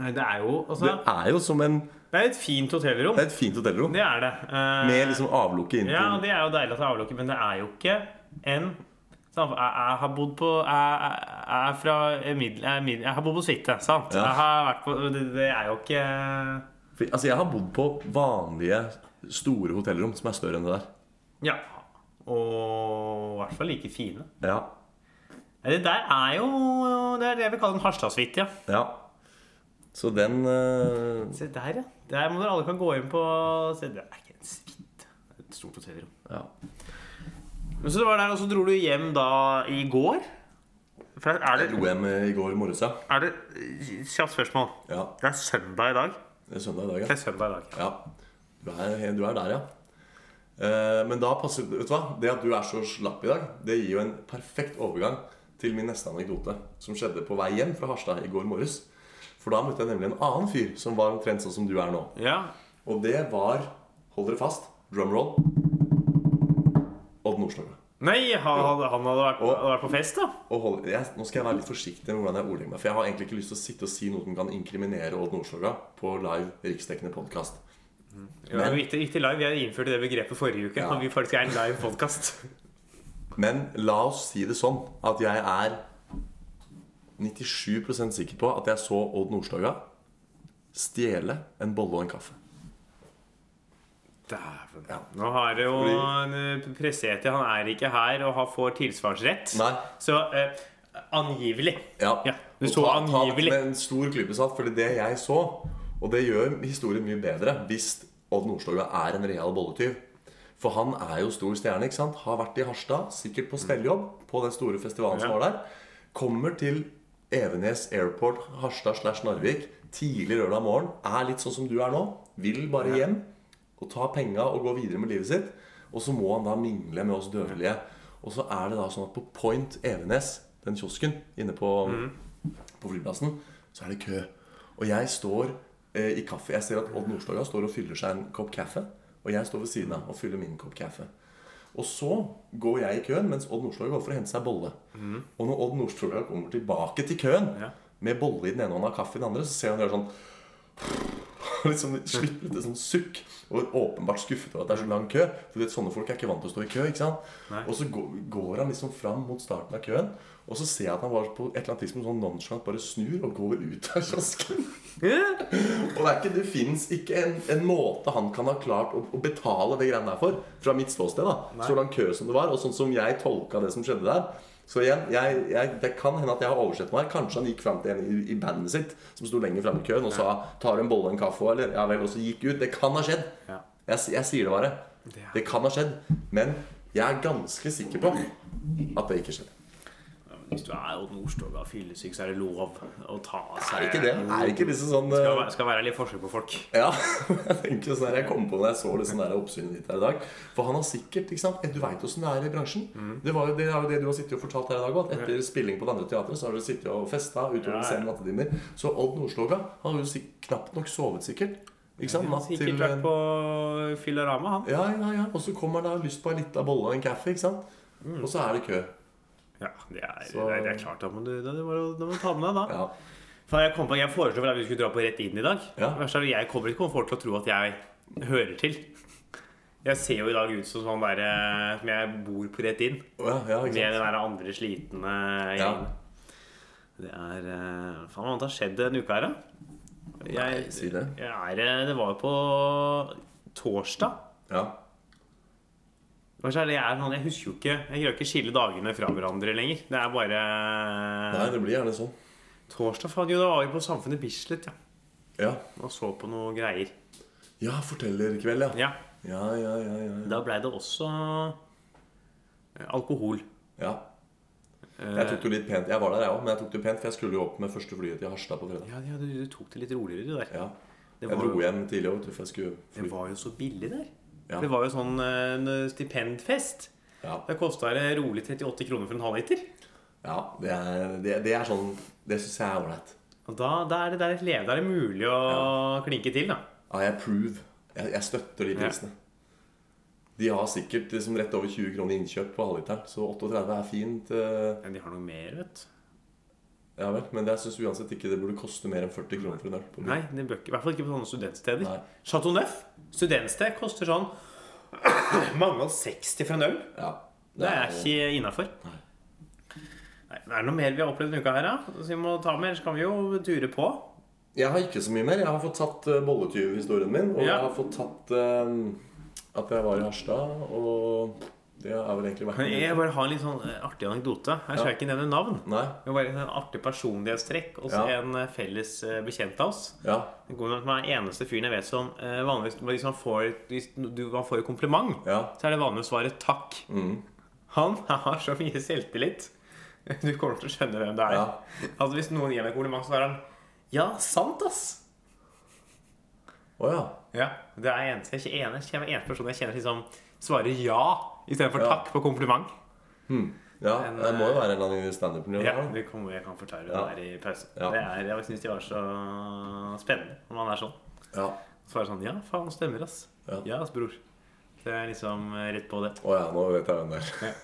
S2: Nei, det er jo altså,
S3: Det er jo som en
S2: Det er et fint hotellrom.
S3: Det er et fint hotellrom
S2: Det er det. Eh,
S3: med liksom avlukke inn
S2: Ja, og
S3: til
S2: det er jo deilig at det er avlukket, men det er jo ikke en sant? Jeg, jeg har bodd på Jeg, jeg, jeg er fra middel... Jeg, er middel- jeg har bodd på suite, sant?
S3: Ja.
S2: Jeg har vært på det, det er jo ikke
S3: For, Altså, jeg har bodd på vanlige store hotellrom som er større enn det der.
S2: Ja. Og i hvert fall like fine.
S3: Ja,
S2: Nei, Det der er jo Det er det jeg vil kalle en Harstad-suite, ja.
S3: ja. Så den eh,
S2: Se der, ja. Der må dere alle kan gå inn på Se, det er ikke en suite. Det er Et stort hotellrom.
S3: Ja.
S2: Men så det var der, og så dro du hjem da i går? For er
S3: Jeg
S2: det,
S3: dro hjem eh, i går morges, ja.
S2: er det Kjapt spørsmål.
S3: ja.
S2: Det er søndag i dag.
S3: Det er søndag i dag,
S2: Det
S3: ja.
S2: er søndag i dag.
S3: ja. Du, er, du er der, ja. Eh, Men da passer Vet du hva? Det at du er så slapp i dag, det gir jo en perfekt overgang til min neste anekdote, som skjedde på vei hjem fra Harstad i går morges. For da møtte jeg nemlig en annen fyr som var omtrent sånn som du er nå.
S2: Ja.
S3: Og det var Hold dere fast. Drumroll. Odd Nordstoga.
S2: Nei, han, hadde- han hadde vært,
S3: Og-
S2: hadde vært på fest, da.
S3: Og hold, jeg, nå skal jeg være litt forsiktig med hvordan jeg ordlegger meg. For jeg har egentlig ikke lyst til å sitte og si noe som kan inkriminere Odd Nordstoga på live riksdekkende podkast.
S2: Ja, vi gikk til- gikk til live. Jeg innførte det begrepet forrige uke.
S3: Ja.
S2: At vi faktisk er en live podkast.
S3: Men la oss si det sånn at jeg er 97 sikker på at jeg så Odd Nordstoga stjele en bolle og en kaffe.
S2: Dæven. Nå har det jo
S3: Fordi-
S2: en, eh, Presseeti han er ikke her og har- får tilsvarsrett.
S3: Nei.
S2: Så eh, angivelig.
S3: Ja.
S2: Ja, du
S3: Og
S2: så
S3: ta- ta dette
S2: angivelig.
S3: Med en stor klype salt, fordi det jeg så, og det gjør historien mye bedre hvis Odd Nordstoga er en real bolletyv. For han er jo stor stjerne, ikke sant? Har vært i Harstad, sikkert på stelljobb på den store festivalen som
S2: Ja.
S3: var der. Kommer til Evenes Airport, Harstad slash Narvik, tidlig lørdag morgen, er litt sånn som du er nå. Vil bare hjem og ta penga og gå videre med livet sitt. Og så må han da mingle med oss døvelige. Og så er det da sånn at på Point Evenes, den kiosken inne på, på flyplassen, så er det kø. Og jeg står eh, i kaffe. Jeg ser at Odd Nordstoga står og fyller seg en kopp kaffe. Og jeg står ved siden av og fyller min kopp kaffe. Og så går jeg i køen mens Odd Nordstoga går for å hente seg bolle. Og når Odd Nordstoga kommer tilbake til køen
S2: Ja.
S3: med bolle i den ene hånda og kaffe i den andre, så ser han gjøre sånn <laughs> litt sånn sluttet et sånn sukk og åpenbart skuffet over at det er så lang kø. For du vet, sånne folk er ikke vant til å stå i kø. ikke sant?
S2: Nei.
S3: Og så går, går han liksom fram mot starten av køen, og så ser jeg at han var på et eller annet tidspunkt sånn nonchalant bare snur og går ut av kiosken. og det er ikke, det fins ikke en, en måte han kan ha klart å, å betale det greiene der for, fra mitt ståsted. da, Så lang kø som det var, og sånn som jeg tolka det som skjedde der. Så igjen, jeg, jeg, Det kan hende at jeg har oversett meg. Kanskje han gikk fram til en i, i bandet sitt som sto lenger framme i køen og sa 'tar du en bolle og en kaffe', også, eller ja vel, og så gikk ut. Det kan ha skjedd.
S2: Ja.
S3: Jeg, si- jeg sier det bare.
S2: Det er-
S3: Det kan ha skjedd. Men jeg er ganske sikker på at det ikke skjedde.
S2: Hvis du er Odd Nordstoga og fyllesyk, så er det lov å ta
S3: Er
S2: seg
S3: det ikke det? Er det ikke liksom sånn
S2: Skal
S3: eh,
S2: være, skal være litt forskjell på folk.
S3: Ja, <laughs> jeg tenker sånn her, jeg kom på når jeg så liksom det her oppsynet ditt her i dag. For han har sikkert ikke sant? Du veit åssen det er i bransjen.
S2: Mm.
S3: Det, var jo, det er jo det du har sittet og fortalt her i dag også, at Etter spilling på det andre teatret så har du sittet og festa utover
S2: Ja, ja.
S3: sene nattetimer. Så Odd Nordstoga har jo sik- knapt nok sovet, sikkert. Ikke sant? Natt til
S2: Sikkert vært på Fillarama, han.
S3: Ja, ja, ja. Og så kommer han da og har lyst på ei lita bolle og en kaffe, ikke sant.
S2: Mm.
S3: Og så er det kø.
S2: Ja, det er,
S3: Så-
S2: det er- det er klart. Da må du, da må du, da må du ta med deg, da.
S3: Ja.
S2: For jeg, kom på, jeg foreslo vel at vi skulle dra på Rett inn i dag.
S3: Ja.
S2: Verst er at Jeg kommer ikke folk til å tro at jeg hører til. Jeg ser jo i dag ut som sånn der, eh, som jeg bor på Rett inn.
S3: Å, ja, ja,
S2: Med
S3: ikke
S2: den
S3: sant.
S2: der andre slitne gjengen. Det er eh, Faen, hva annet har skjedd denne uka her, da? Jeg,
S3: Nei, si det.
S2: Jeg er, eh, det var jo på torsdag.
S3: Ja.
S2: Hva er det jeg, er, sånn, jeg husker jo ikke Jeg greier ikke å skille dagene fra hverandre lenger. Det er bare
S3: Nei, det blir gjerne sånn.
S2: Torsdag faen, jo, da var vi på Samfunnet Bislett ja.
S3: Ja.
S2: og så på noe greier.
S3: Ja, fortellerkveld, ja.
S2: Ja,
S3: Ja, ja, ja. ja, ja.
S2: Da blei det også eh, alkohol.
S3: ja.
S2: Eh,
S3: Jeg tok det jo litt pent, jeg var der jeg òg, men jeg tok det jo pent, for jeg skulle jo opp med første flyet til Harstad på fredag.
S2: ja, ja, du, du tok det litt roligere, du der.
S3: Ja.
S2: Det
S3: Jeg
S2: var
S3: dro
S2: jo-
S3: hjem tidlig òg, for jeg skulle
S2: Det
S3: fly.
S2: var jo så billig der.
S3: Ja.
S2: Det var jo sånn eh, en stipendfest.
S3: Ja,
S2: Da kosta det rolig 38 kroner for en halvliter.
S3: ja det, er, det, det er sånn Det syns jeg er ålreit.
S2: Og da, da er det der et leve, da er det mulig å klinke til, da.
S3: Ja, jeg approve. Jeg, jeg støtter de
S2: Ja.
S3: prisene. De har sikkert liksom rett over 20 kroner innkjøp på halvliteren, så 38 er fint. eh,
S2: Men de har noe mer, vet du.
S3: Ja vel, men jeg syns uansett ikke det burde koste mer enn 40 kroner for en øl. på byen.
S2: Nei, det bør ikke, i hvert fall ikke på sånne studentsteder.
S3: Nei.
S2: Chateau Neuf, studentsted, koster sånn <clears throat> mange og 60 for en øl.
S3: Ja.
S2: Det er ikke innafor.
S3: Nei.
S2: Nei, det er noe mer vi har opplevd denne uka her, da. Så vi må ta med, ellers kan vi jo ture på.
S3: Jeg har ikke så mye mer. Jeg har fått tatt eh, bolletyvhistorien min. Og
S2: Ja.
S3: jeg har fått tatt eh, at jeg var i Harstad, og det er vel egentlig vært
S2: Kan jeg bare ha en litt sånn eh, artig anekdote? Her skal jeg ikke nevne navn.
S3: Nei?
S2: Det var bare en sånn artig personlighetstrekk og så
S3: Ja.
S2: en eh, felles eh, bekjent av oss.
S3: Ja.
S2: Det går med at man er den eneste fyren jeg vet som eh, vanligvis Hvis man får, hvis du, man får et kompliment,
S3: Ja.
S2: så er det vanlig å svare takk. Han <laughs> har så mye selvtillit. Du kommer til å skjønne hvem det er.
S3: Ja.
S2: Altså Hvis noen gir meg et kompliment, så er han Ja, sant, ass!
S3: Å ja.
S2: Ja, det er eneste, jeg kjenner- jeg kjenner en person jeg kjenner liksom svarer ja istedenfor
S3: Ja.
S2: takk på kompliment.
S3: ja.
S2: Men,
S3: Det må
S2: eh,
S3: jo være en eller annen standup-miljø.
S2: Ja,
S3: Ja.
S2: vi kommer, Jeg kan fortelle
S3: Ja.
S2: det der i pausen.
S3: Ja.
S2: Det er, Jeg syns de var så spennende når man er sånn.
S3: Ja.
S2: Svarer sånn Ja, faen, stemmer, ass.
S3: Ja.
S2: Ja, ass, bror. Det er liksom eh, rett på det. <laughs>
S3: Å ja, nå vet jeg hvem det er.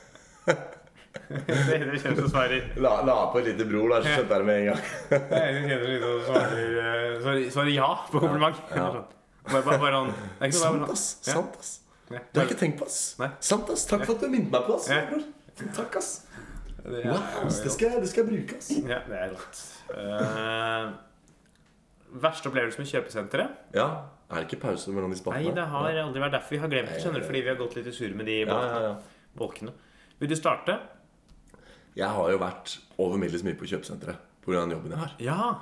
S2: det er en kjent som svarer
S3: La, la på et lite bror, da, så skjønte jeg det med en gang.
S2: Det er en kjent som svarer, eh, svarer, svarer ja på kompliment.
S3: Ja.
S2: Sånn. <laughs> Bare, bare, bare sånn det er ikke noe,
S3: Sant,
S2: bare
S3: ass.
S2: Ja.
S3: Sant, ass.
S2: sånn.
S3: Det har jeg ikke tenkt på, ass.
S2: Nei.
S3: Sant, ass. Takk for at du minnet meg på ass,
S2: Ja.
S3: bror. Takk, ass.
S2: Det er-
S3: Wow, ass. Det skal, jeg- det skal jeg bruke, ass.
S2: Ja, det er rått. Eh, verste opplevelse med kjøpesenteret?
S3: Ja. Er det ikke pause mellom de
S2: Nei,
S3: spaltene?
S2: det har aldri vært derfor vi har glemt det, skjønner du, fordi vi har gått litt i surr med de
S3: ja, ja, ja.
S2: bolkene. Vil du starte?
S3: Jeg har jo vært over middels mye på kjøpesenteret pga. jobben jeg har.
S2: Ja.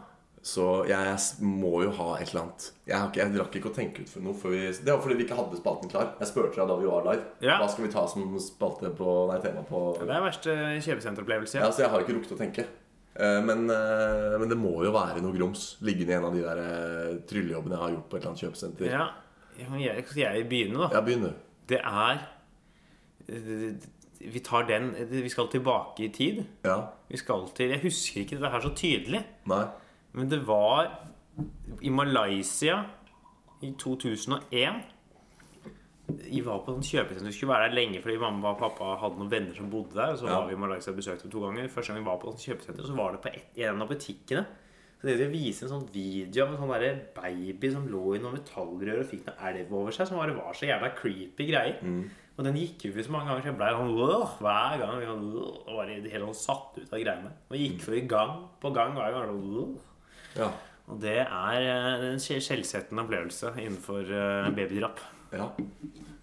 S3: Så jeg s- må jo ha et eller annet. Jeg, har ikke, jeg rakk ikke å tenke ut for noe. For vi, det var fordi vi ikke hadde spalten klar. Jeg spurte deg da vi var live.
S2: Ja.
S3: Hva skal vi ta som spalte på Nei, tema på
S2: Det er verste kjøpesenteropplevelse.
S3: ja, Så jeg har ikke rukket å tenke. Eh, Men, eh, men det må jo være noe grums liggende i en av de der eh, tryllejobbene jeg har gjort på et eller annet kjøpesenter. Ja,
S2: Ja, jeg, skal jeg begynne, da?
S3: begynn du.
S2: Det er Vi tar den Vi skal tilbake i tid.
S3: Ja.
S2: Vi skal til Jeg husker ikke det her så tydelig,
S3: Nei.
S2: men det var i Malaysia i 2001. Vi var på sånn kjøpesenter. Vi skulle være der lenge fordi mamma og pappa hadde noen venner som bodde der. Og så
S3: Ja.
S2: var vi i Malaysia og besøkte dem to ganger. Første gang vi var på sånn kjøpesenter, så var det på et, i en av butikkene. Så det de vise en sånn video av en sånn der baby som lå i noen metallrør og fikk noe elv over seg, som bare var så jævla creepy greier. Og den gikk jo ut så mange ganger, så jeg ble sånn «Åh», hver gang. jeg var, «Åh», Og var helt sånn satt ut av greiene. Og gikk for gang på gang hver gang. sånn, «Åh».
S3: Ja.
S2: Og det er eh, en skje- skjellsettende opplevelse innenfor eh, babydrap.
S3: ja.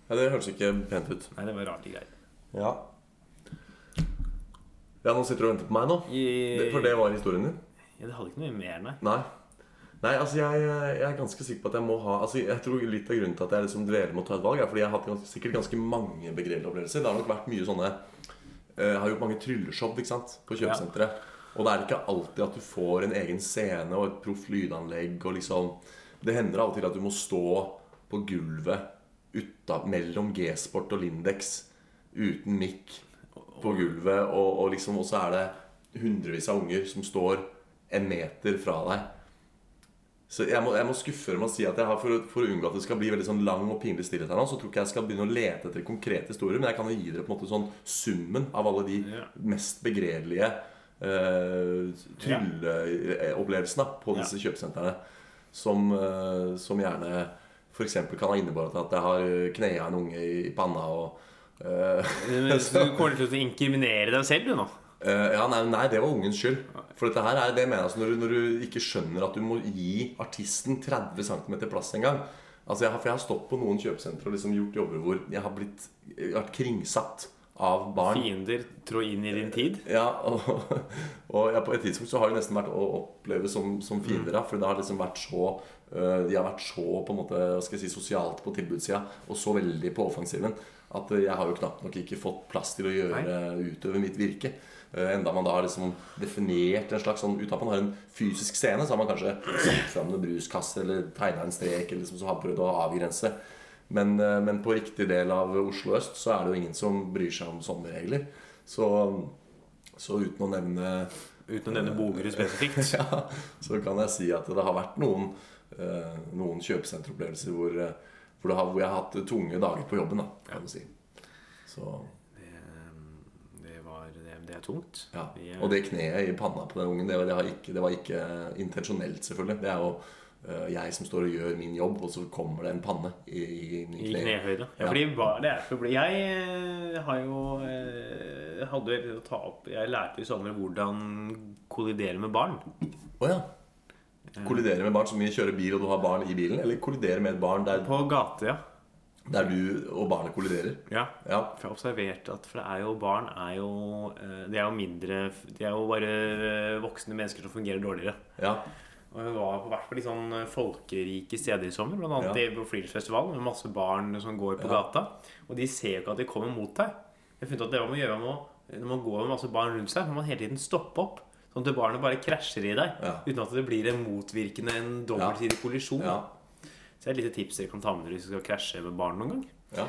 S3: ja det hørtes ikke pent ut.
S2: Nei, det var rart de greier.
S3: Ja. Ja, nå sitter du og venter på meg nå. Det- For det var historien din?
S2: Ja, det hadde ikke noe mer, nei.
S3: Nei. Nei, altså jeg, jeg er ganske sikker på at jeg må ha Altså jeg tror Litt av grunnen til at jeg liksom dveler med å ta et valg, er fordi jeg har hatt ganske, sikkert ganske mange begredelige opplevelser. Det har nok vært mye sånne eh, Jeg har gjort mange trylleshow ikke sant, på kjøpesenteret. Og det er ikke alltid at du får en egen scene og et proft lydanlegg. Og liksom, det hender av og til at du må stå på gulvet uta, mellom G-sport og Lindex uten mikk på gulvet, og, og liksom, og så er det hundrevis av unger som står en meter fra deg. Så jeg må, jeg må skuffe dem og si at jeg har, for, å- for å unngå at det skal bli veldig sånn lang og pinlig stillhet her nå, så tror ikke jeg skal begynne å lete etter konkrete historier, men jeg kan jo gi dere på en måte sånn summen av alle de
S2: Ja.
S3: mest begredelige eh, trylleopplevelsene på disse kjøpesentrene, som, eh, som gjerne f.eks. kan ha innebåret at jeg har knea en unge i, i panna og eh,
S2: Men Du kommer til å inkriminere deg selv, du nå.
S3: Eh, ja, nei, nei, det var ungens skyld. For dette her er det mener jeg altså, når, du, når du ikke skjønner at du må gi artisten 30 cm plass en gang Altså, jeg har, For jeg har stått på noen kjøpesentre og liksom gjort jobber hvor jeg har blitt jeg har vært kringsatt av barn.
S2: Fiender trå inn i din tid.
S3: Ja, og, og jeg, på et tidspunkt så har det nesten vært å oppleve som, som fiender. da, For det har liksom vært så øh, De har vært så på en måte, hva skal jeg si, sosialt på tilbudssida og så veldig på offensiven at øh, jeg har jo knapt nok ikke fått plass til å gjøre utøve mitt virke. Eh, Enda man da har liksom definert en slags sånn Uten at man har en fysisk scene, så har man kanskje satt fram noen bruskasse eller tegna en strek eller liksom, så har prøvd å avgrense. Men, eh, men på riktig del av Oslo øst så er det jo ingen som bryr seg om sånne regler. Så så uten å nevne <laughs>
S2: Uten å nevne Bogerud <laughs> spesifikt.
S3: ja, Så kan jeg si at det har vært noen, eh, noen kjøpesenteropplevelser hvor, eh, hvor, det har, hvor jeg har hatt tunge dager på jobben. Da, kan du si. Så,
S2: eh, Det, var, det, det er tungt.
S3: ja.
S2: Vi, eh,
S3: Og det kneet i panna på den ungen, det, var- det, har ikke, det var ikke intensjonelt, selvfølgelig. Det er jo eh, jeg som står og gjør min jobb, og så kommer det en panne i, i,
S2: I
S3: i kneet.
S2: knehøyde. Ja,
S3: Ja.
S2: fordi hva det er for å bli Jeg eh, har jo eh, hadde jo egentlig å ta opp Jeg lærte jo i sommer hvordan kollidere med barn.
S3: Å ja. Kollidere med barn som mye kjører bil, og du har barn i bilen? Eller kollidere med et barn der,
S2: På gata, ja.
S3: der du og barnet kolliderer?
S2: ja.
S3: Ja.
S2: For jeg har observert at For det er jo barn er jo eh, De er jo mindre De er jo bare eh, voksne mennesker som fungerer dårligere.
S3: ja.
S2: Og vi var på hvert fall litt sånn folkerike steder i sommer, blant annet
S3: Ja.
S2: på Friluftsfestivalen, med masse barn som går på
S3: Ja.
S2: gata. Og de ser jo ikke at de kommer mot deg. Jeg har funnet at det man må gjøre man må, når man går med masse barn rundt seg, må man hele tiden stoppe opp. Sånn at barnet bare krasjer i deg,
S3: Ja.
S2: uten at det blir en motvirkende, en dobbeltsidig kollisjon.
S3: ja.
S2: Så det er et lite tips dere kan ta med dere hvis dere skal krasje med barn noen gang.
S3: ja.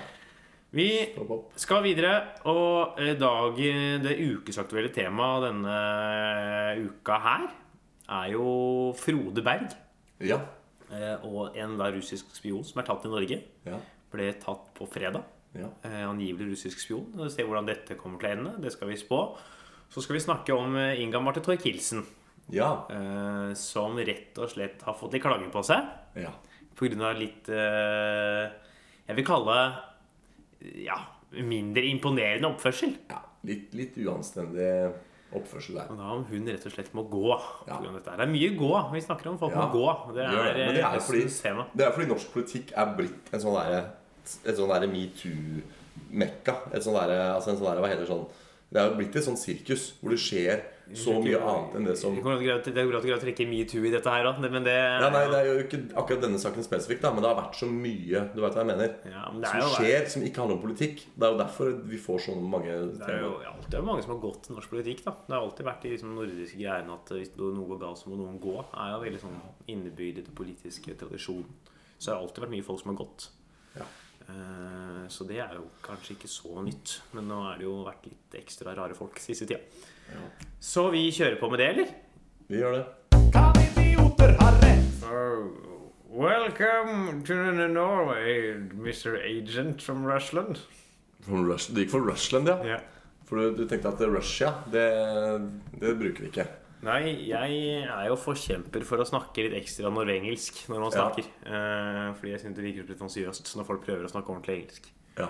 S2: Vi
S3: Stopp opp.
S2: skal videre, og eh, dag, det ukesaktuelle temaet denne eh, uka her er jo Frode Berg.
S3: Ja.
S2: Eh, Og en da russisk spion som er tatt i Norge,
S3: Ja.
S2: ble tatt på fredag.
S3: Ja.
S2: Eh, Angivelig russisk spion. Og Se hvordan dette kommer til å ende. Det skal vi spå. Så skal vi snakke om eh, Inga Marte Thorkildsen,
S3: Ja.
S2: eh, som rett og slett har fått litt klager på seg
S3: ja.
S2: pga. litt eh, Jeg vil kalle det ja, mindre imponerende oppførsel.
S3: ja. Litt, litt uanstendig oppførsel der.
S2: Og da om hun rett og slett må gå.
S3: Ja.
S2: på grunn av dette her. Det er mye gå. Vi snakker om folk
S3: Ja.
S2: må gå. Det
S3: Gjør
S2: er,
S3: det. Men det er
S2: eh,
S3: fordi-
S2: høstens tema.
S3: Det er fordi norsk politikk er blitt en sånn derre et sånn derre metoo-mekka. Et sånn derre altså en sånn derre- Hva heter det sånn Det er jo blitt et sånn sirkus hvor det skjer så mye annet enn det som
S2: Det går an å greie- det går an å greie å trekke metoo i dette her, da. Men det,
S3: ja, Nei, det er jo ikke akkurat denne saken spesifikt, da, men det har vært så mye du vet hva jeg mener,
S2: Ja, men det er
S3: som
S2: jo-
S3: skjer som ikke handler om politikk. Det er jo derfor vi får så mange
S2: Det er jo
S3: temaer.
S2: alltid det er mange som har gått til norsk politikk. da Det har alltid vært i liksom, nordiske greiene at hvis noe går galt, så må noen gå. Det er jo veldig sånn innebygd i den politiske tradisjonen. Så det har alltid vært mye folk som har gått.
S3: Ja.
S2: Eh, Så det er jo kanskje ikke så nytt. Men nå har det jo vært litt ekstra rare folk siste tida. Så vi kjører på med det, eller?
S3: Vi gjør det.
S1: Kan idioter ha rett?
S2: welcome to Norway, Mr. Agent from Rushland.
S3: From Rush, det gikk for Rushland, ja. For du, du tenkte at Russia, det, det bruker vi ikke.
S2: Nei, jeg er jo forkjemper for å snakke litt ekstra norvengelsk når man
S3: Ja.
S2: snakker. Eh, fordi jeg syns det virker litt pretensiøst når folk prøver å snakke ordentlig engelsk.
S3: Ja.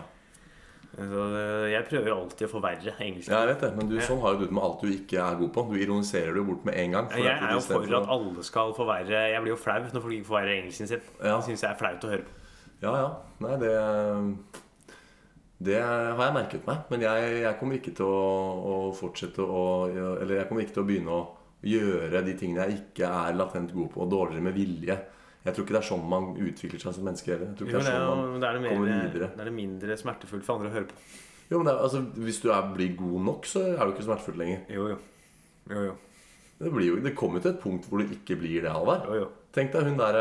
S2: Så eh, jeg prøver jo alltid å forverre engelsken.
S3: Ja, jeg vet det, men du, sånn har jo du det med alt du ikke er god på. Du ironiserer det jo bort med en gang.
S2: jeg er jo for at
S3: alt
S2: alle skal forverre Jeg blir jo flau når folk ikke forverrer engelsken sin.
S3: Ja.
S2: Det syns jeg er flaut å høre på.
S3: Ja, ja. Nei, det Det har jeg merket meg. Men jeg, jeg kommer ikke til å, å fortsette å Eller jeg kommer ikke til å begynne å gjøre de tingene jeg ikke er latent god på, og dårligere med vilje. Jeg tror ikke det er sånn man utvikler seg som menneske heller. Jeg tror
S2: Jo,
S3: ikke
S2: men
S3: det
S2: det er,
S3: er sånn
S2: jo-
S3: man
S2: det, er det,
S3: kommer
S2: mer,
S3: videre.
S2: det er det mindre smertefullt for andre å høre på.
S3: Jo, men det er, altså, Hvis du er, blir god nok, så er du ikke smertefull lenger.
S2: Jo, jo. Jo, jo.
S3: Det, blir jo, det kommer jo til et punkt hvor du ikke blir det, Halvard.
S2: jo, jo.
S3: Tenk deg hun der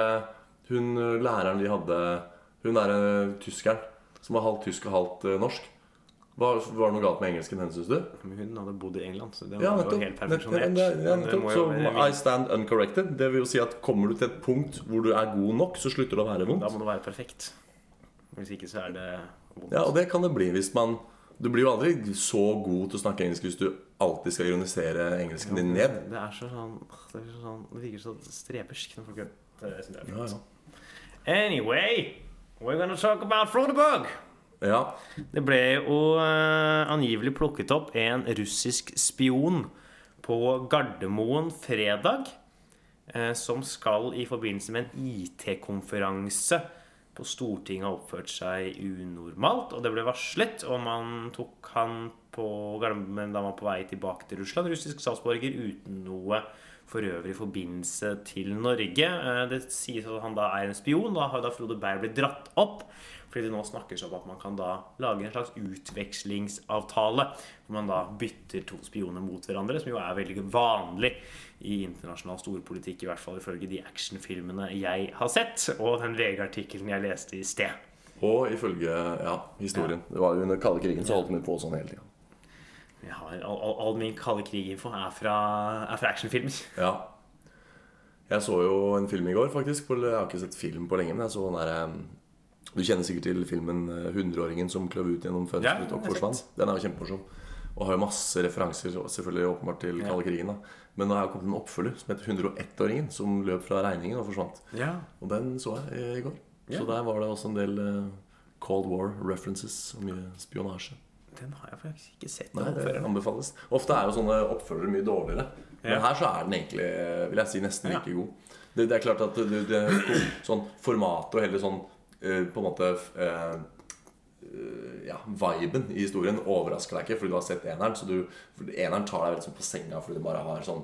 S3: Hun eh, læreren de hadde Hun der eh, tyskeren Som var halvt tysk og halvt eh, norsk Var, var det noe galt med engelsken hennes, synes du?
S2: Men hun hadde bodd i England, så det
S3: Ja,
S2: var jo
S3: nettopp,
S2: helt
S3: nettopp,
S2: perfeksjonert.
S3: ja, ja,
S2: Men det
S3: nettopp.
S2: må
S3: Så
S2: jo være
S3: I stand uncorrected Det vil jo si at kommer du til et punkt Hvor du er god nok, så slutter det å være
S2: Da
S3: vondt
S2: må det være perfekt. Hvis ikke så er det vondt.
S3: Ja, og det kan det bli hvis man Du blir jo aldri så god til å snakke engelsk Hvis du alltid skal ironisere engelsken din ned
S2: Det er så sånn Det, er så sånn, det virker så strebersk når folk gjør det. det. synes jeg er
S3: Ja,
S2: fint.
S3: ja.
S2: Anyway, we're gonna talk about Frodebug.
S3: ja,
S2: Det ble jo eh, angivelig plukket opp en russisk spion på Gardermoen fredag. eh, som skal i forbindelse med en IT-konferanse på Stortinget ha oppført seg unormalt. Og det ble varslet, og man tok han på Gardermoen da han var på vei tilbake til Russland, russisk statsborger, uten noe for øvrig forbindelse til Norge. Eh, Det sies at han da er en spion. Da har jo da Frode Berg blitt dratt opp. Fordi det nå snakkes om at man kan da lage en slags utvekslingsavtale. Hvor man da bytter to spioner mot hverandre, som jo er veldig vanlig i internasjonal storpolitikk. I hvert fall ifølge de actionfilmene jeg har sett, og den VG-artikkelen jeg leste i sted.
S3: og ifølge ja, historien Det var jo under kalde krigen så holdt vi på sånn hele tiden
S2: Jeg har, all, all, all min kalde krig-info er fra, er fra actionfilmer.
S3: Ja. Jeg så jo en film i går, faktisk. på- Jeg har ikke sett film på lenge. men jeg så den der, em, Du kjenner sikkert til filmen eh, 'Hundreåringen som kløv ut gjennom
S2: Ja,
S3: fønsteret
S2: den
S3: og
S2: har jeg
S3: forsvant'. Den er jo kjempemorsom. Og har jo masse referanser og selvfølgelig åpenbart til kalde krigen. da Men nå har jo kommet en oppfølger som heter 101-åringen, som løp fra regningen og forsvant. Og den så jeg eh, i går. Så der var det også en del eh, Cold War references og mye spionasje.
S2: Den har jeg faktisk ikke sett.
S3: Nei,
S2: den
S3: det
S2: oppføreren.
S3: anbefales. Ofte er jo sånne oppfølgere mye dårligere. Men
S2: Ja.
S3: her så er den egentlig eh, vil jeg si, nesten
S2: Ja.
S3: like god. Det, det er klart at det, det, sånn formatet og hele sånn eh, på en måte eh, eh, ja, viben i historien overrasker deg ikke fordi du har sett eneren. Så du, for eneren tar deg veldig sånn på senga fordi du bare har sånn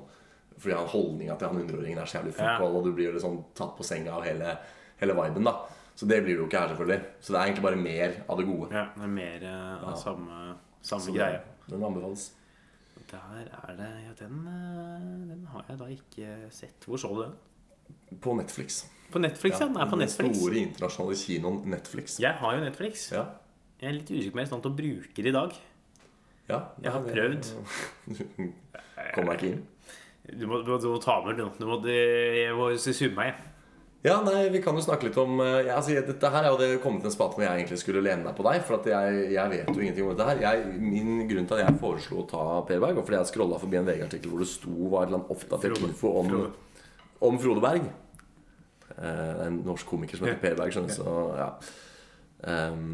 S3: Fordi han holdninga til han hundreåringen er så jævlig
S2: Ja.
S3: fuckhold, og du blir liksom tatt på senga av hele, hele viben, da. Så det blir du jo ikke her, selvfølgelig. Så det er egentlig bare mer av det gode.
S2: Ja, det er mer eh, av samme, samme
S3: Så det-
S2: greie.
S3: Den anbefales.
S2: Der er det Ja, den, eh, den har jeg da ikke sett. Hvor så du den?
S3: På Netflix.
S2: På Netflix, ja. Den er på Netflix.
S3: store internasjonale kinoen Netflix.
S2: Jeg har jo Netflix.
S3: Ja.
S2: Jeg er litt usikker på om jeg er i stand til å bruke det i dag.
S3: ja.
S2: Jeg har
S3: Nei,
S2: prøvd.
S3: <laughs> Kom deg ikke inn.
S2: Du må, du må, du må ta med det nå. Du må, det, jeg må summe meg. jeg.
S3: Ja, nei, vi kan jo snakke litt om eh, ja, altså, Dette her er jo det kommet til en spate hvor jeg egentlig skulle lene meg på deg. For at jeg, jeg vet jo ingenting om dette her. Jeg, min grunn til at jeg foreslo å ta Per Berg, var fordi jeg scrolla forbi en VG-artikkel hvor det sto var et eller annet oppdatert
S2: Frode.
S3: info om
S2: Frode.
S3: om Frode Berg. Eh, det er en norsk komiker som heter Per Berg, skjønner du. Så ja. Ehm,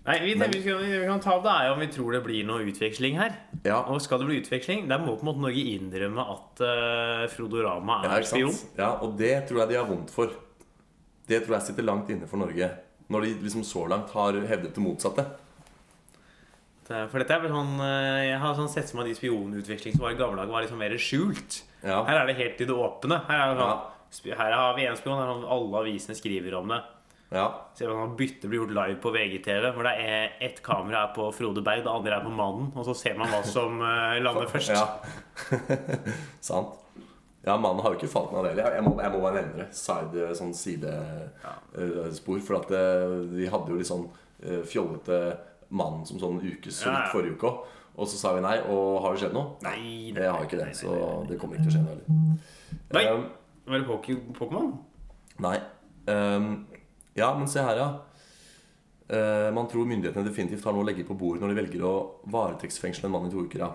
S2: Nei, vi, vi, skal, vi kan ta opp det er jo om vi tror det blir noe utveksling her.
S3: ja.
S2: Og skal det bli utveksling, der må på en måte Norge innrømme at uh, Frodorama
S3: Ja,
S2: er
S3: ikke
S2: spion.
S3: sant? Ja, og det tror jeg de har vondt for. Det tror jeg sitter langt inne for Norge. Når de liksom så langt har hevdet det motsatte.
S2: eh, For dette er vel sånn eh, Jeg har sånn sett for meg de spionutveksling som var i gamle dager, var liksom mer skjult.
S3: Ja.
S2: Her er det helt i det åpne. Her, er det sånn,
S3: Ja.
S2: sp- her har vi en spion. Her har alle avisene skriver om det.
S3: Ja.
S2: Ser man at byttet blir gjort live på VGTV, hvor det er ett kamera er på Frode Berg, det andre er på Mannen, og så ser man hva som eh, lander først.
S3: ja. <laughs> Sant. Ja, mannen har jo ikke falt meg det heller. Jeg må, jeg må bare nevne det. Side, sånn sidespor. for at eh, de hadde jo litt sånn eh, fjollete mannen som sånn ukesult
S2: Ja, ja.
S3: forrige uke òg. Og så sa vi nei. Og har det skjedd noe?
S2: Nei,
S3: Jeg har ikke det, så det kommer ikke til å skje noe heller.
S2: Nei.
S3: Um,
S2: Var det Poké- Pokémon?
S3: nei. Um, ja, men se her, ja. Eh, man tror myndighetene definitivt har noe å legge på bordet når de velger å varetektsfengsle en mann i to uker. ja.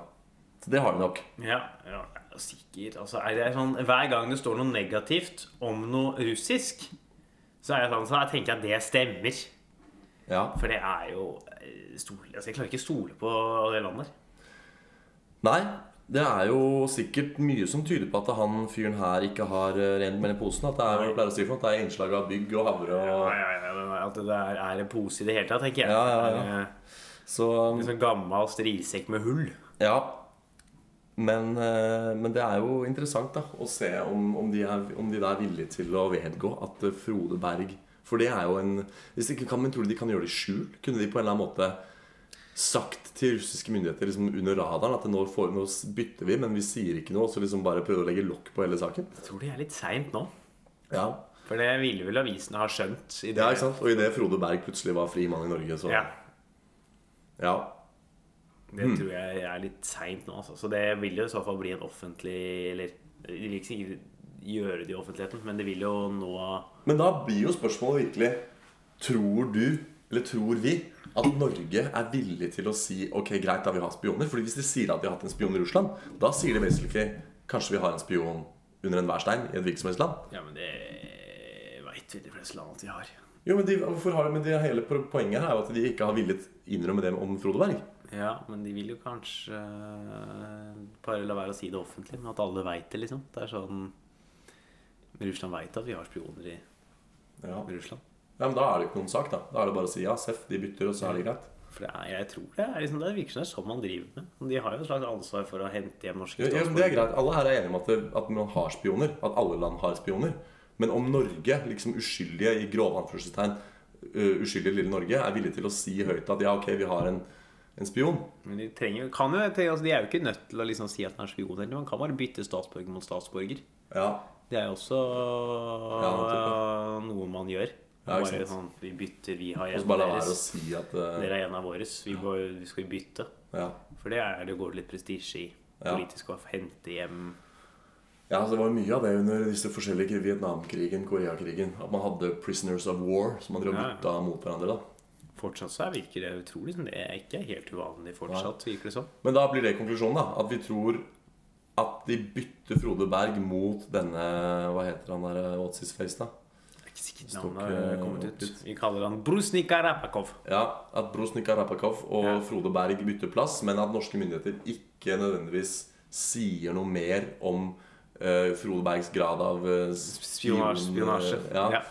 S3: Så det har de nok.
S2: Ja, ja ja, sikkert. Altså, er det sånn, hver gang det står noe negativt om noe russisk, så, er jeg sånn, så jeg tenker jeg at det stemmer.
S3: Ja.
S2: For det er jo eh, stol, altså, Jeg klarer ikke å stole på det landet. der.
S3: Nei, det er jo sikkert mye som tyder på at han fyren her ikke har eh, rent mellom posene. At det er hva vi pleier å si for noe, at det er innslag av bygg og havre
S2: Nei,
S3: og
S2: nei, nei, nei, At det der er en pose i det hele tatt, tenker jeg.
S3: Ja, ja, ja.
S2: Eh,
S3: Så um,
S2: En sånn gammel strisekk med hull.
S3: ja. Men, eh, men det er jo interessant da å se om, om, de er, om de er villige til å vedgå at eh, Frode Berg For det er jo en Hvis ikke kan man tro de kan gjøre det i skjul? Kunne de på en eller annen måte sagt til russiske myndigheter liksom under radaren at nå, får, nå bytter vi, men vi sier ikke noe, og så liksom bare prøve å legge lokk på hele saken?
S2: Jeg tror de er litt seint nå.
S3: Ja,
S2: For det ville vel avisene ha skjønt. I det.
S3: Ja, ikke sant? Og idet Frode Berg plutselig var fri mann i Norge, så
S2: Ja,
S3: Ja.
S2: det
S3: Mm.
S2: tror jeg er litt seint nå. Altså. Så det vil jo i så fall bli en offentlig Eller de vil ikke sikkert gjøre det i offentligheten, men det vil jo nå
S3: Men da blir jo spørsmålet virkelig Tror du, eller tror vi, at Norge er villig til å si Ok, greit, da vi har spioner? Fordi hvis de sier at de har hatt en spion i Russland, da sier de basically Kanskje vi har en spion under enhver stein i et hvilket som helst land?
S2: Ja, men det veit vel de fleste land at de har.
S3: Jo, men, de, hvorfor har, men det hele po- poenget her er jo at de ikke har villet innrømme det om Frode Berg.
S2: Ja, men de vil jo kanskje bare la være å si det offentlig, men at alle veit det, liksom. Det er sånn Russland veit at vi har spioner i
S3: Ja. ja,
S2: Russland.
S3: Men da er det ikke noen sak, da. Da er det bare å si ja, seff, de bytter, og så er det greit.
S2: For det er, jeg tror det er liksom, det virker som det er sånn man driver med. De har jo et slags ansvar for å hente hjem norske
S3: Ja, ja, men det er
S2: statsborgere.
S3: greit. Alle her er enige om at, det, at man har spioner. At alle land har spioner. Men om Norge, liksom uskyldige i grove anførselstegn, øh, uskyldige lille Norge, er villig til å si høyt at ja, ok, vi har en, en spion.
S2: Men de, trenger, jo- kan jo, tenke- altså, de er jo ikke nødt til å liksom si at den er spion. Eller man kan bare bytte statsborger mot statsborger.
S3: Ja.
S2: Det er jo også eh,
S3: Ja,
S2: noe man gjør.
S3: Ja, ikke
S2: bare
S3: sant.
S2: sånn, Vi bytter, vi har
S3: Og
S2: en
S3: så bare la være å
S2: deres.
S3: si at øh,
S2: Dere er en av våres. Vi, går, vi skal bytte.
S3: ja.
S2: For det, er, det går det litt prestisje i.
S3: Ja.
S2: Politisk å hente hjem
S3: ja, så det var mye av det under disse forskjellige krig- Vietnamkrigen, Koreakrigen. At man hadde 'prisoners of war', som man drev og
S2: Ja, ja.
S3: bytta mot hverandre. da
S2: Fortsatt så er- virker det utrolig som det er ikke helt uvanlig fortsatt, virker det som.
S3: Men da blir det konklusjonen, da. At vi tror at de bytter Frode Berg mot denne Hva heter han der? What's his face, da?
S2: Det er ikke sikkert
S3: Står
S2: navnet har
S3: ikke
S2: kommet ut.
S3: opp.
S2: Vi kaller han Brusnika Rapakov.
S3: Ja, At Brosnika Rapakov og
S2: Ja.
S3: Frode Berg bytter plass, men at norske myndigheter ikke nødvendigvis sier noe mer om eh, Frode Bergs grad av eh, spion-
S2: Spionasje. spionasje.
S3: ja,
S2: Ja.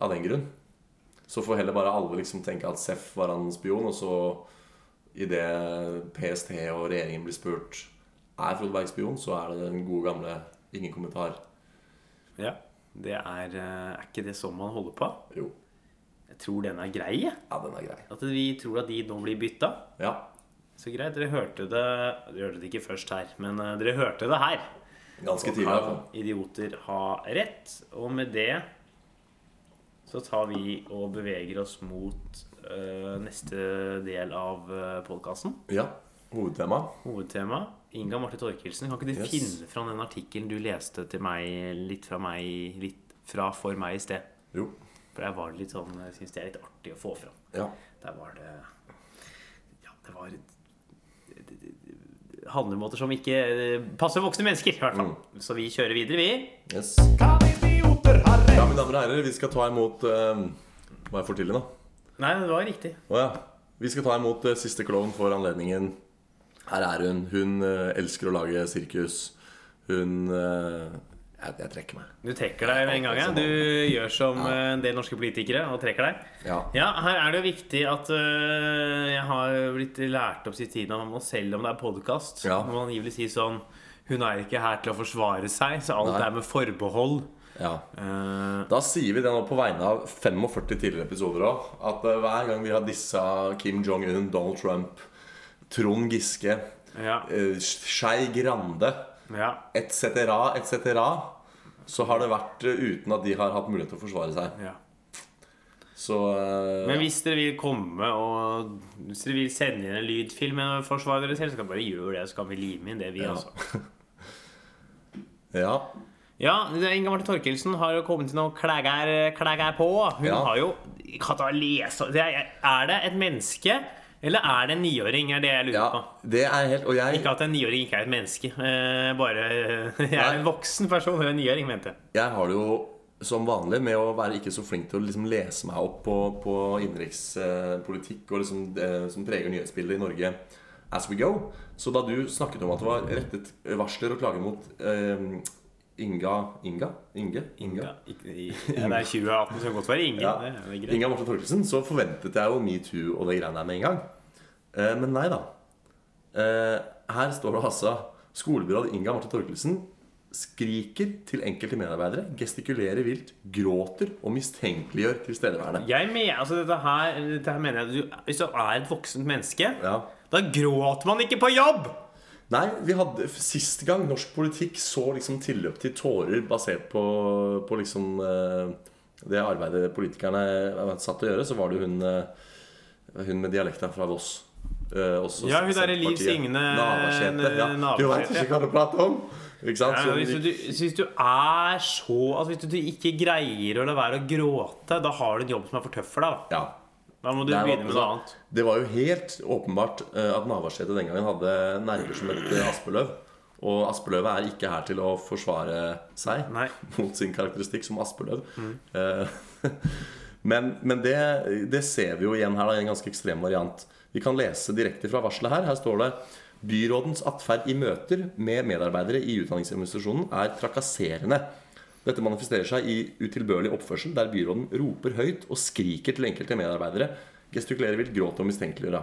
S3: Av den grunn. Så får heller bare alle liksom tenke at Seff var han spion, og så idet PST og regjeringen blir spurt er Frode Berg spion, så er det den gode gamle ingen kommentar.
S2: ja. Det er, eh, er ikke det sånn man holder på?
S3: Jo.
S2: Jeg tror den er grei. jeg.
S3: Ja, den er grei.
S2: At vi tror at de nå blir bytta.
S3: Ja.
S2: Så greit, dere hørte det Dere hørte det ikke først her, men eh, dere hørte det her.
S3: Ganske tidlig, i hvert fall.
S2: Kan idioter ha rett? Og med det så tar vi og beveger oss mot eh, neste del av uh, podkasten.
S3: Ja. Hovedtema.
S2: Hovedtema. Inga Marte Torkelsen, kan ikke du
S3: Yes.
S2: finne fram den artikkelen du leste til meg litt fra meg Litt fra for meg i sted?
S3: Jo.
S2: For der var det litt sånn Jeg syns det er litt artig å få fram.
S3: Ja.
S2: Der var det Ja, det var handlemåter som ikke eh, passer voksne mennesker, i hvert fall. Så vi kjører videre, vi.
S3: Yes.
S1: Idioter har
S3: Ja,
S1: rett.
S3: mine damer og herrer, vi skal ta imot eh, Var jeg for tidlig nå?
S2: Nei, det var riktig.
S3: Å ja. Vi skal ta imot eh, siste klovn for anledningen. Her er hun. Hun eh, elsker å lage sirkus. Hun eh, Jeg, jeg trekker meg.
S2: Du trekker deg med en gang. Ja. Du gjør som eh, en del norske politikere og trekker deg.
S3: Ja.
S2: Ja, her er det jo viktig at øh, jeg har blitt lært opp siste tiden om at selv om det er podkast,
S3: Ja.
S2: må man angivelig si sånn Hun er ikke her til å forsvare seg, så alt
S3: Nei.
S2: er med forbehold.
S3: ja.
S2: Eh,
S3: Da sier vi det nå på vegne av 45 tidligere episoder òg. At eh, hver gang vi har dissa Kim Jong-un, Donald Trump, Trond Giske,
S2: ja,
S3: eh, Skei Grande
S2: ja.
S3: etc., etc., så har det vært eh, uten at de har hatt mulighet til å forsvare seg.
S2: ja.
S3: Så eh,
S2: Men hvis dere vil komme og Hvis dere vil sende inn en lydfilm og forsvare dere selv, så kan dere bare gjøre det, så kan vi lime inn det, vi
S3: Ja. altså.
S2: også.
S3: <laughs> ja.
S2: Ja, det er Inga Marte Torkelsen har jo kommet til noen klæger, klæger på. Hun
S3: Ja.
S2: har jo kan ta lese, det er, er det et menneske, eller er det en niåring? Er det jeg lurer
S3: ja.
S2: på.
S3: Det er helt Og jeg,
S2: Ikke at en niåring ikke er et menneske. Eh, bare <laughs> Jeg
S3: Nei.
S2: er en voksen person, og en niåring, mente jeg.
S3: jeg har det jo som vanlig med å være ikke så flink til å liksom lese meg opp på, på innenrikspolitikk og liksom det som preger nyhetsbildet i Norge as we go. Så da du snakket om at det var rettet varsler og klager mot eh, Inga Inga? Inge? Inga?
S2: Ja, ikke, i, ja, det er 2018, så det kan godt være ingen.
S3: Ja.
S2: Det, er jo greit.
S3: Inga Marte Torkelsen, så forventet jeg jo metoo og de greiene der med en gang. Eh, men nei da. Eh, her står det altså skolebyråd Inga Marte Torkelsen skriker til enkelte medarbeidere, gestikulerer vilt, gråter og mistenkeliggjør tilstedeværende.
S2: Jeg mener, altså dette her, dette her mener jeg at du, Hvis du er et voksent menneske,
S3: Ja.
S2: da gråter man ikke på jobb!
S3: Nei, vi hadde sist gang norsk politikk så liksom tilløp til tårer basert på, på liksom eh, det arbeidet politikerne var satt til å gjøre, så var det jo hun, eh, hun med dialekta fra Voss. eh, også
S2: Ja, hun der
S3: Senterpartiet.
S2: Liv Signe
S3: Navarsete. Ja. Du veit
S2: Navarsete.
S3: ikke hva du prater om! Ikke sant?
S2: eh, Ja,
S3: Så hun
S2: hvis,
S3: gikk-
S2: du, så hvis du er så altså Hvis du ikke greier å la være å gråte, da har du en jobb som er for tøff for deg. da.
S3: ja.
S2: Da må du
S3: Der var-
S2: begynne med noe annet.
S3: Det var jo helt åpenbart eh, at Navarsete den gangen hadde nerver som et eh, aspeløv. Og aspeløvet er ikke her til å forsvare seg.
S2: Nei.
S3: <laughs> mot sin karakteristikk som Aspeløv. Eh, <laughs> men men det, det ser vi jo igjen her, da, i en ganske ekstrem variant. Vi kan lese direkte fra varselet her. Her står det Byrådens atferd i møter med medarbeidere i utdanningsinstitusjonen er trakasserende. Dette manifesterer seg i utilbørlig oppførsel, der byråden roper høyt og skriker til enkelte medarbeidere, gestikulerer vilt, gråter og mistenkeliggjør.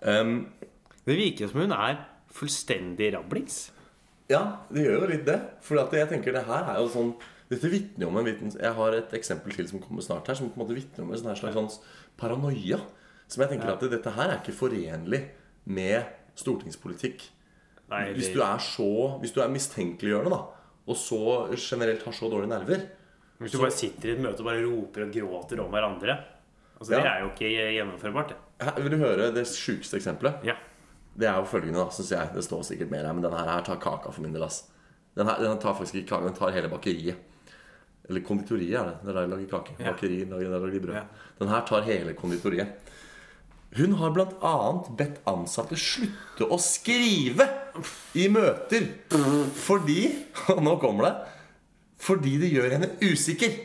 S3: da. Um,
S2: Det virker som hun er fullstendig rablings.
S3: Ja, det gjør jo litt det. For at jeg tenker det her er jo sånn Dette vitner jo om en vitens... Jeg har et eksempel til som kommer snart her, som på en måte vitner om en sånn her slags sånn paranoia. Som jeg tenker at dette her er ikke forenlig med stortingspolitikk.
S2: Nei,
S3: Hvis
S2: det-
S3: du er så Hvis du er mistenkeliggjørende, da, og så generelt har så dårlige nerver
S2: Hvis du bare sitter i et møte og bare roper og gråter om hverandre Altså Det
S3: Ja.
S2: er jo ikke gjennomførbart. det
S3: Her Vil du høre det sjukeste eksempelet?
S2: ja.
S3: Det er jo følgende, da, syns jeg. Det står sikkert mer her, men denne her tar kaka for min del, ass. Den her, den tar faktisk ikke kaka, den tar hele bakeriet. Eller konditoriet, er det. Det er der de lager kake.
S2: Ja.
S3: Bakeriet, der der lager de brød.
S2: Ja.
S3: Den her tar hele konditoriet. Hun har bl.a. bedt ansatte slutte å skrive i møter fordi <laughs> Og nå kommer det. Fordi det gjør henne usikker.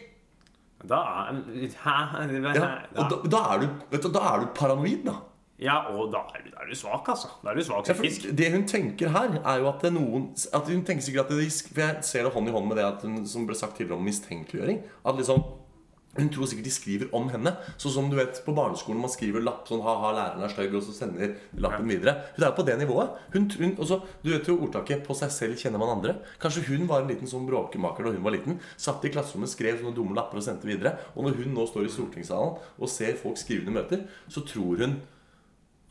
S2: Da er Hæ?
S3: Ja,
S2: Da,
S3: og da, da, er du, vet du, da er du paranoid, da.
S2: ja, og da er, du, da er du svak, altså. Da er du svak
S3: Ja, for
S2: psykisk.
S3: det hun tenker her, er jo at det er noen At Hun tenker sikkert at det, For jeg ser det hånd i hånd med det at hun, som ble sagt tidligere om mistenkeliggjøring. At liksom Hun tror sikkert de skriver om henne. Sånn som du vet på barneskolen man skriver lapp sånn ha-ha, læreren er stygg, og så sender lappen videre. Hun er på det nivået. Hun, tr- hun, og så, du vet jo ordtaket 'på seg selv kjenner man andre'. Kanskje hun var en liten sånn bråkemaker da hun var liten. Satt i klasserommet, skrev sånne dumme lapper og sendte videre. Og når hun nå står i stortingssalen og ser folk skrive under møter, så tror hun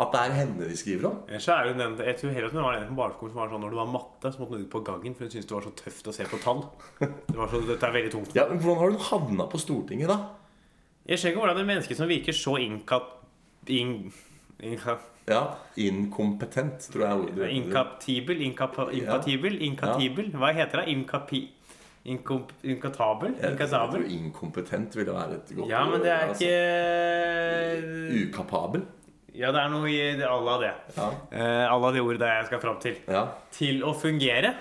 S3: at det er henne de skriver om.
S2: Ellers så er hun den, jeg tror heller at hun var den på barneskolen som var sånn når det var matte, så måtte hun ut på gangen, for hun syntes det var så tøft å se på tall. <laughs> Det var så, dette er veldig tungt.
S3: Ja, men Hvordan har hun havna på Stortinget, da?
S2: Jeg skjønner ikke hvordan et menneske som virker så innkap... In, inka,
S3: Ja, Inkompetent, tror jeg ordet heter.
S2: inkaptibel? Inkap, inkatibel? Inkatibel? Hva heter det? Inkapi... Inkom, inkatabel?
S3: Jeg tror
S2: Inkasabel?
S3: Inkompetent ville være et godt
S2: Ja, men det er
S3: ord, altså.
S2: ikke
S3: Ukapabel.
S2: Ja, det er noe i det- à la det.
S3: Ja.
S2: Eh, à la det ordet jeg skal fram til.
S3: ja.
S2: Til å fungere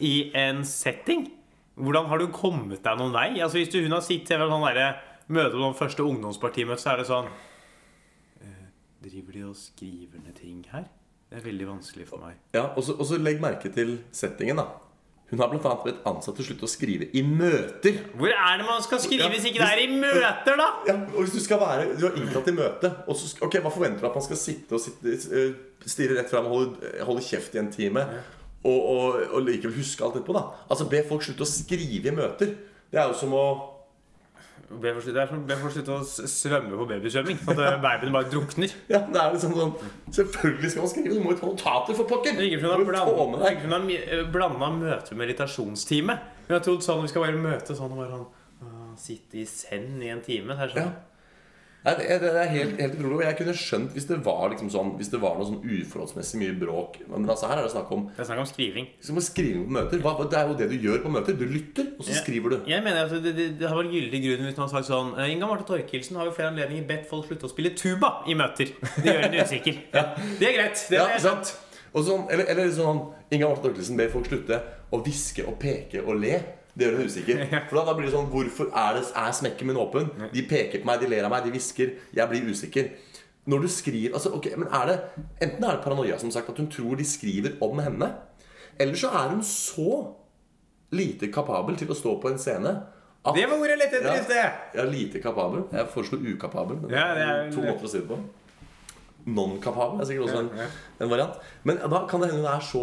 S2: i en setting. Hvordan har du kommet deg noen vei? Altså Hvis du hun har sittet ved sånn derre møte på noen første ungdomspartimøte, så er det sånn eh, Driver de og skriver ned ting her? Det er veldig vanskelig for meg.
S3: ja og så- og så legg merke til settingen, da. Hun har bl.a. bedt ansatte slutte å skrive i møter.
S2: Hvor er det man skal skrive
S3: Ja,
S2: hvis ikke det
S3: hvis-
S2: er i møter, da?
S3: Ja, og hvis du skal være Du har innkalt til møte, og så skal, ok, hva forventer du at man skal sitte og sitte, eh, stirre rett fram og holde, eh, holde kjeft i en time? Og, og, og likevel huske alt etterpå, da. Altså Be folk slutte å skrive i møter. Det er jo som å
S2: Be for, det er som be for å slutte å s- svømme på babysvømming. At eh, babyen bare drukner.
S3: Ja, det er liksom sånn Selvfølgelig skal man skrive! Du må jo ta notater, for pokker!
S2: Ikke
S3: Du
S2: for
S3: må jo få med deg
S2: Hun har blanda møte med meditasjonstime. Hun har trodd sånn vi skal bare møte sånn og bare sånn «Åh, Sitte i send i en time. Det er
S3: Ja.
S2: sånn.
S3: Nei, det, er- det er helt, helt utrolig. Og jeg kunne skjønt hvis det var liksom sånn Hvis det var noe sånn uforholdsmessig mye bråk. Men altså her er det snakk om
S2: Det er snakk om skriving.
S3: liksom, å skrive på møter. Hva, det er jo det du gjør på møter. Du lytter, og så
S2: Ja.
S3: skriver du.
S2: Jeg mener at det, det, det har vært gyldig grunn hvis man har sagt sånn «Eh, Inga Marte Torkelsen har ved flere anledninger bedt folk slutte å spille tuba i møter. Det gjør henne usikker. Det er greit. Det
S3: Ja,
S2: er
S3: ikke sant? Og sånn, eller, eller sånn Inga Marte Torkelsen ber folk slutte å hviske og peke og le. Det gjør
S2: <laughs>
S3: henne usikker. For da, da blir det sånn Hvorfor er, det, er smekken min åpen? De peker på meg, de ler av meg, de hvisker. Jeg blir usikker. Når du skriver altså, ok, men er det, Enten er det paranoia, som sagt, at hun tror de skriver om henne. Eller så er hun så lite kapabel til å stå på en scene at
S2: det var ordet jeg lette etter i
S3: ja,
S2: sted.
S3: ja, lite kapabel. Jeg foreslo ukapabel. Men
S2: Ja, det er-
S3: to måter å si det på. Non-kapabel er sikkert også en,
S2: Ja, ja.
S3: en variant. Men da kan det hende hun er så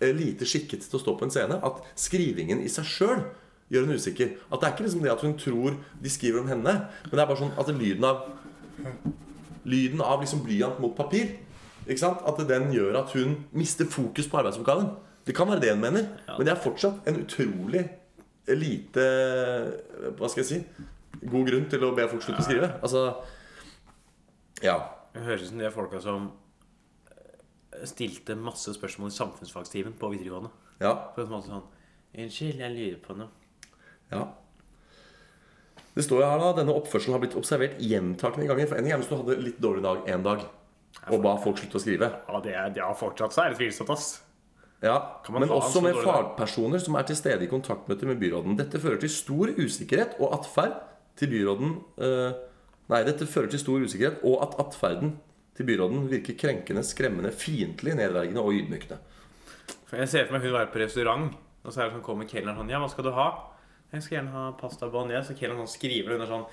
S3: eh, lite skikket til å stå på en scene at skrivingen i seg sjøl gjør henne usikker. At det er ikke liksom det at hun tror de skriver om henne, men det er bare sånn at lyden av Lyden av liksom blyant mot papir ikke sant? At den gjør at hun mister fokus på arbeidsoppgaven. Det kan være det hun mener, men det er fortsatt en utrolig eh, lite eh, Hva skal jeg si god grunn til å be folk slutte å skrive. Altså Ja.
S2: Det høres ut som de er folka som eh, stilte masse spørsmål i samfunnsfagstimen på videregående.
S3: Ja.
S2: På en måte sånn Unnskyld, jeg lurer på noe.
S3: ja. Det står jo her da denne oppførselen har blitt observert gjentakende ganger. For en gang hvis du hadde litt dårlig dag en dag og ba folk slutte å skrive.
S2: Ja, det er, det er fortsatt så er det tvilsomt, ass.
S3: Ja,
S2: Kan man
S3: Men
S2: ta han
S3: også
S2: som
S3: med
S2: dårlig dag?
S3: fagpersoner som er til stede i kontaktmøter med byråden. Dette fører til stor usikkerhet og atferd til byråden eh, Nei, dette fører til stor usikkerhet og at atferden til byråden virker krenkende, skremmende, fiendtlig, nedverdigende og ydmykende.
S2: For jeg ser for meg hun være på restaurant, og så er det sånn, kommer kelneren sånn Ja, hva skal du ha? Jeg skal gjerne ha pasta bolognese. Så kelneren sånn skriver, og hun er sånn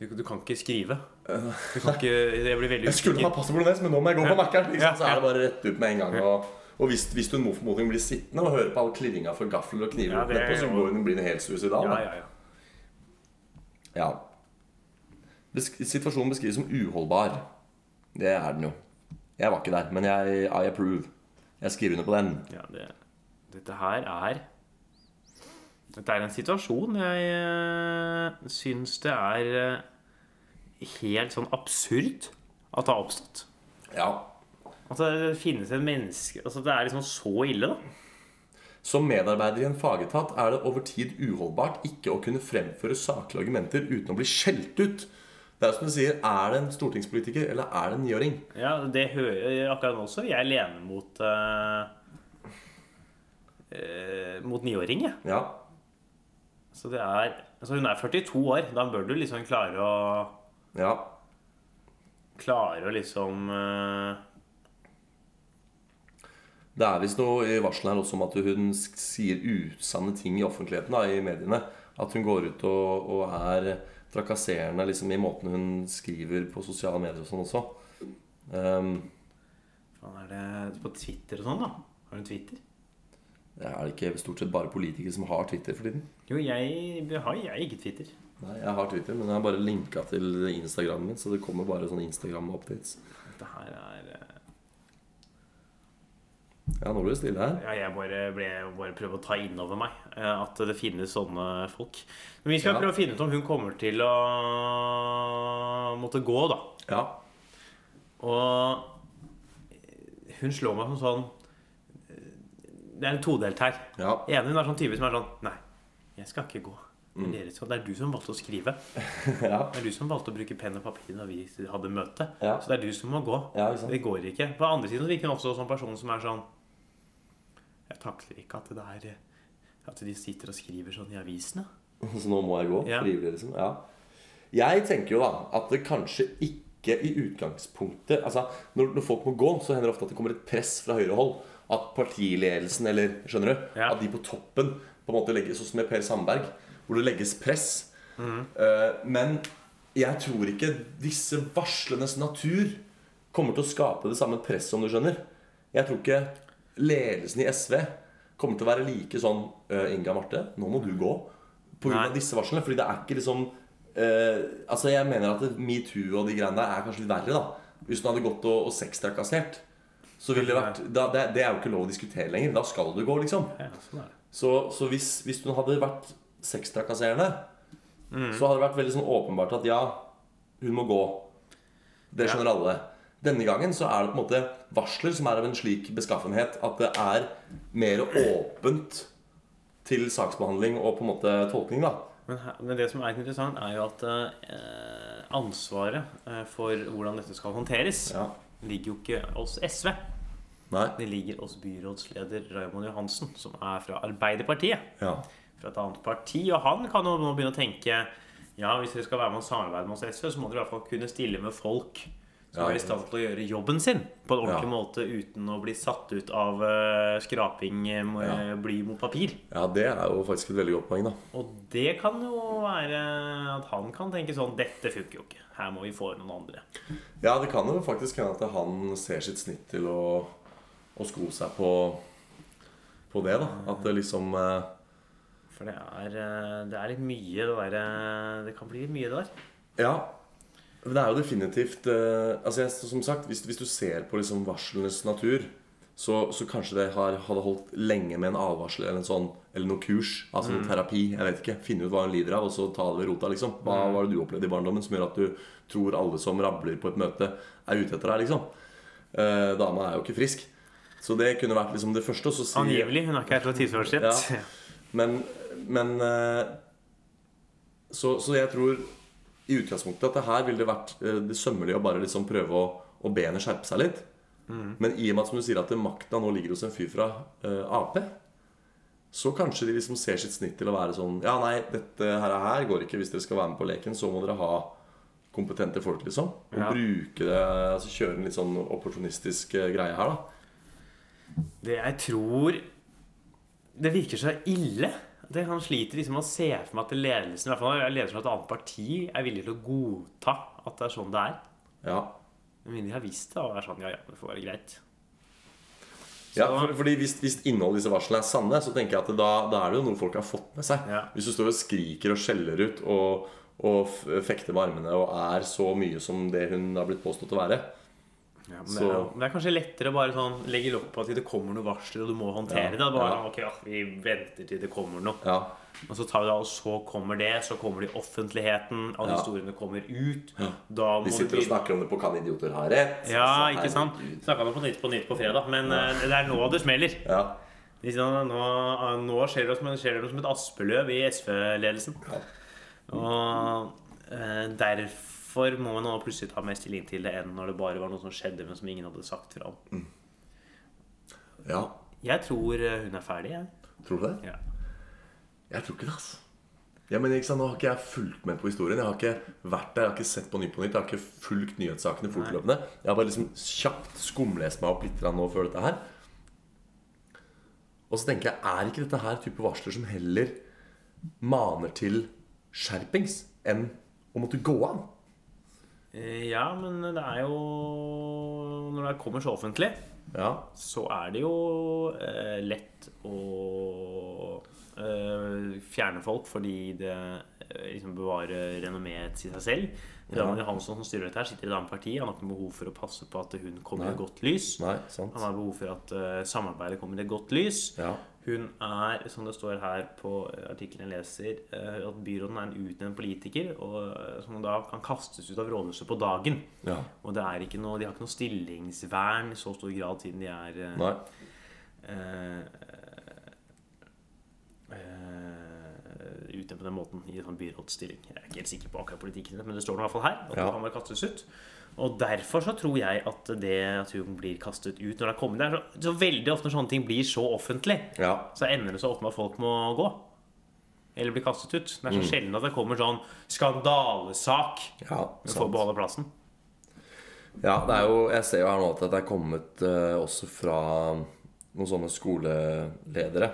S2: du, du kan ikke skrive. Du kan ikke, jeg blir veldig
S3: Jeg skulle ha
S2: usikker.
S3: pasta bolognese, men nå må jeg gå på Mækkern! ikke sant? Så
S2: Ja, ja.
S3: er det bare rett ut med en gang. Og, og hvis, hvis hun mot formodning blir sittende og hører på all klirringa fra gafler og kniver,
S2: Ja, det er
S3: etterpå, så
S2: jo-
S3: går hun, blir hun helt
S2: Ja,
S3: suicidal. da.
S2: ja, ja.
S3: Ja. Besk situasjonen beskrives som uholdbar. Det er den jo. Jeg var ikke der, men jeg I approve. Jeg skriver under på den.
S2: ja det, dette her er Dette er en situasjon jeg øh, syns det er øh, helt sånn absurd at det har oppstått.
S3: Ja.
S2: At det finnes en menneske altså Det er liksom så ille, da.
S3: Som medarbeider i en fagetat er det over tid uholdbart ikke å kunne fremføre saklige argumenter uten å bli skjelt ut. Det er jo som du sier, er det en stortingspolitiker, eller er det en niåring?
S2: Ja, det hører Akkurat nå så vil jeg lene mot eh, eh, Mot niåring, jeg.
S3: Ja.
S2: Så det er Altså, hun er 42 år. Da bør du liksom klare å
S3: Ja.
S2: Klare å liksom eh,
S3: Det er visst noe i varselet her også om at hun sk- sier usanne ting i offentligheten, da, i mediene. At hun går ut og, og er trakasserende liksom, i måten hun skriver på sosiale medier og sånn også. Ehm,
S2: Faen, er det på Twitter og sånn, da? Har du Twitter?
S3: det er det ikke stort sett bare politikere som har Twitter for tiden?
S2: Jo, jeg har jeg ikke Twitter.
S3: Nei, jeg har Twitter, men jeg har bare linka til Instagramen min, så det kommer bare sånne Instagram-updates.
S2: Dette her er eh,
S3: Ja, nå blir det stille her.
S2: Ja, jeg bare, ble, bare prøver å ta inn over meg eh, at det finnes sånne folk. Men vi skal
S3: Ja.
S2: prøve å finne ut om hun kommer til å måtte gå, da.
S3: Ja.
S2: Og hun slår meg som sånn Det er en todelt her.
S3: Ja. <laughs>
S2: Ene hun er sånn type som er sånn Nei, jeg skal ikke gå.
S3: Mm.
S2: Det er, dere som- det er du som valgte å skrive.
S3: ja.
S2: Det er du som valgte å bruke penn og papir da vi hadde møte.
S3: Ja.
S2: Så det er du som må gå.
S3: Ja, ikke sant.
S2: Det går ikke. På andre siden så virker hun også som en person som er sånn Jeg takler ikke at det er At de sitter og skriver sånn i avisene.
S3: <laughs> Så nå må jeg gå?
S2: Ja.
S3: Frivillig, liksom? Ja. Jeg tenker jo da at det kanskje ikke i utgangspunktet Altså, når, når folk må gå, så hender det ofte at det kommer et press fra høyre hold. at partiledelsen, eller skjønner du,
S2: Ja.
S3: at de på toppen på en måte legges, Sånn som med Per Sandberg, hvor det legges press. Eh, men jeg tror ikke disse varslenes natur kommer til å skape det samme presset, om du skjønner. Jeg tror ikke ledelsen i SV kommer til å være like sånn eh, Inga Marte, nå må du gå. På grunn
S2: Nei.
S3: av disse varslene. Fordi det er ikke liksom eh, Altså, jeg mener at det- metoo og de greiene der er kanskje litt verre, da. Hvis hun hadde gått og, og sextrakassert, så ville det vært da, det, det er jo ikke lov å diskutere lenger. Da skal du gå, liksom.
S2: Ja, sånn er det.
S3: Så, så hvis, hvis hun hadde vært sextrakasserende, så hadde det vært veldig sånn åpenbart at ja, hun må gå. Det skjønner alle. Denne gangen så er det på en måte varsler som er av en slik beskaffenhet at det er mer åpent til saksbehandling og på en måte tolkning, da.
S2: Men, her- men det som er interessant, er jo at eh, ansvaret eh, for hvordan dette skal håndteres,
S3: Ja.
S2: ligger jo ikke hos SV.
S3: Nei.
S2: Det ligger hos byrådsleder Raymond Johansen, som er fra Arbeiderpartiet.
S3: Ja.
S2: Fra et annet parti. Og han kan jo nå begynne å tenke ja, hvis dere skal være med og samarbeide med oss i SV, så må dere i hvert fall kunne stille med folk som
S3: Ja.
S2: er i stand til å gjøre jobben sin på en ordentlig
S3: Ja.
S2: måte uten å bli satt ut av eh, skraping eh, med
S3: Ja.
S2: bly mot papir.
S3: ja, det er jo faktisk et veldig godt poeng, da.
S2: Og det kan jo være at han kan tenke sånn Dette funker jo ikke. Her må vi få inn noen andre.
S3: Ja, det kan jo faktisk hende at han ser sitt snitt til å, å sko seg på, på det, da. At det liksom eh,
S2: For det er, eh, det er litt mye det derre Det kan bli litt mye det der.
S3: Ja. men Det er jo definitivt eh, altså jeg, Som sagt, hvis, hvis du ser på liksom varslenes natur, så, så kanskje det har, hadde holdt lenge med en advarsel eller, en sånn, eller noe kurs. Altså noe terapi. jeg vet ikke, Finne ut hva hun lider av, og så ta det ved rota. liksom Hva var det du opplevde i barndommen som gjør at du tror alle som rabler på et møte, er ute etter deg? liksom Eh, Dama er jo ikke frisk. Så det kunne vært liksom det første. Og så si-
S2: Angivelig. Hun er ikke her til å tidsføre sitt.
S3: Ja. men, men eh, så, så jeg tror i utgangspunktet at det her ville det vært eh, det sømmelige å bare liksom prøve å, å be henne skjerpe seg litt. Men i og med at som du sier at makta nå ligger hos en fyr fra eh, Ap, så kanskje de liksom ser sitt snitt til å være sånn Ja, nei, dette her, er her går ikke. Hvis dere skal være med på leken, så må dere ha kompetente folk, liksom. Og
S2: Ja.
S3: bruke det Altså kjøre en litt sånn opportunistisk eh, greie her, da.
S2: <laughs> Det jeg tror Det virker så ille. Det Han sliter liksom med å se for meg at ledelsen i hvert fall ledelsen fra et annet parti er villig til å godta at det er sånn det er.
S3: Ja.
S2: Men mindre de har visst det og er sånn Ja, ja, det får være greit.
S3: Ja, for, fordi hvis, hvis innholdet i disse varslene er sanne, så tenker jeg at da, da er det jo noe folk har fått med seg.
S2: Ja.
S3: Hvis du står og skriker og skjeller ut og, og f- fekter med armene og er så mye som det hun har blitt påstått å være
S2: Ja, men det,
S3: Så-
S2: er, jo- det er kanskje lettere å bare sånn, legge lokk på at det kommer noen varsler, og du må håndtere
S3: Ja,
S2: det. Bare, «Ah,
S3: ja.
S2: ok, ja, Vi venter til det kommer noe.
S3: Ja,
S2: Og så tar vi det, og så kommer det. Så kommer det i offentligheten. Alle
S3: Ja.
S2: historiene kommer ut. Da må
S3: De sitter og snakker om det på Kan idioter ha rett?
S2: Ja,
S3: Så-
S2: ikke sant?
S3: herregud.
S2: Snakka om på Nytt på Nytt på fredag, men eh, det er nå det smeller.
S3: Ja.
S2: De sier, Nå, nå skjer det som, skjer det noe som et aspeløv i SV-ledelsen.
S3: Ja.
S2: Og eh, derfor må man nå plutselig ta mer stilling til det enn når det bare var noe som skjedde, men som ingen hadde sagt fra om.
S3: ja.
S2: Jeg tror eh, hun er ferdig, jeg.
S3: Tror du det?
S2: Ja.
S3: Jeg tror ikke det, altså. Ja, men ikke sant, Nå har ikke jeg fulgt med på historien. Jeg har ikke vært der, jeg har ikke sett på Nytt på Nytt. Jeg har ikke fulgt nyhetssakene fortløpende. Jeg har bare liksom kjapt skumlest meg opp litt grann nå før dette her. Og så tenker jeg, er ikke dette her type varsler som heller maner til skjerpings enn å måtte gå av?
S2: Eh, ja, men det er jo Når det kommer så offentlig,
S3: Ja.
S2: så er det jo eh, lett å eh, fjerne folk fordi det eh, liksom bevarer renommeet til seg selv. Raman Johansson som styrer dette her, sitter i et annet parti. Han har ikke behov for å passe på at hun kommer i
S3: Nei.
S2: godt lys.
S3: Nei, sant.
S2: Han har behov for at eh, samarbeidet kommer i et godt lys.
S3: Ja.
S2: Hun er, som det står her på eh, artikkelen jeg leser, eh, at byråden er en utnevnt politiker, og, eh, som da kan kastes ut av rådhuset på dagen.
S3: Ja.
S2: Og det er ikke noe, de har ikke noe stillingsvern i så stor grad siden de er eh,
S3: Nei.
S2: eh, eh, utnevnt på den måten i en sånn byrådsstilling. Jeg er ikke helt sikker på akkurat politikken, men det står nå i hvert fall her. At
S3: Ja.
S2: det kan bare kastes ut. Og derfor så tror jeg at det at hun blir kastet ut når det er kommet Det er så, så veldig ofte når sånne ting blir så offentlig,
S3: Ja.
S2: så ender det så ofte med at folk må gå. Eller blir kastet ut. Det er så
S3: Mm.
S2: sjelden at det kommer sånn skandalesak.
S3: Ja,
S2: Du får beholde plassen.
S3: Ja, det er jo, jeg ser jo her nå at det er kommet eh, også fra
S4: noen sånne skoleledere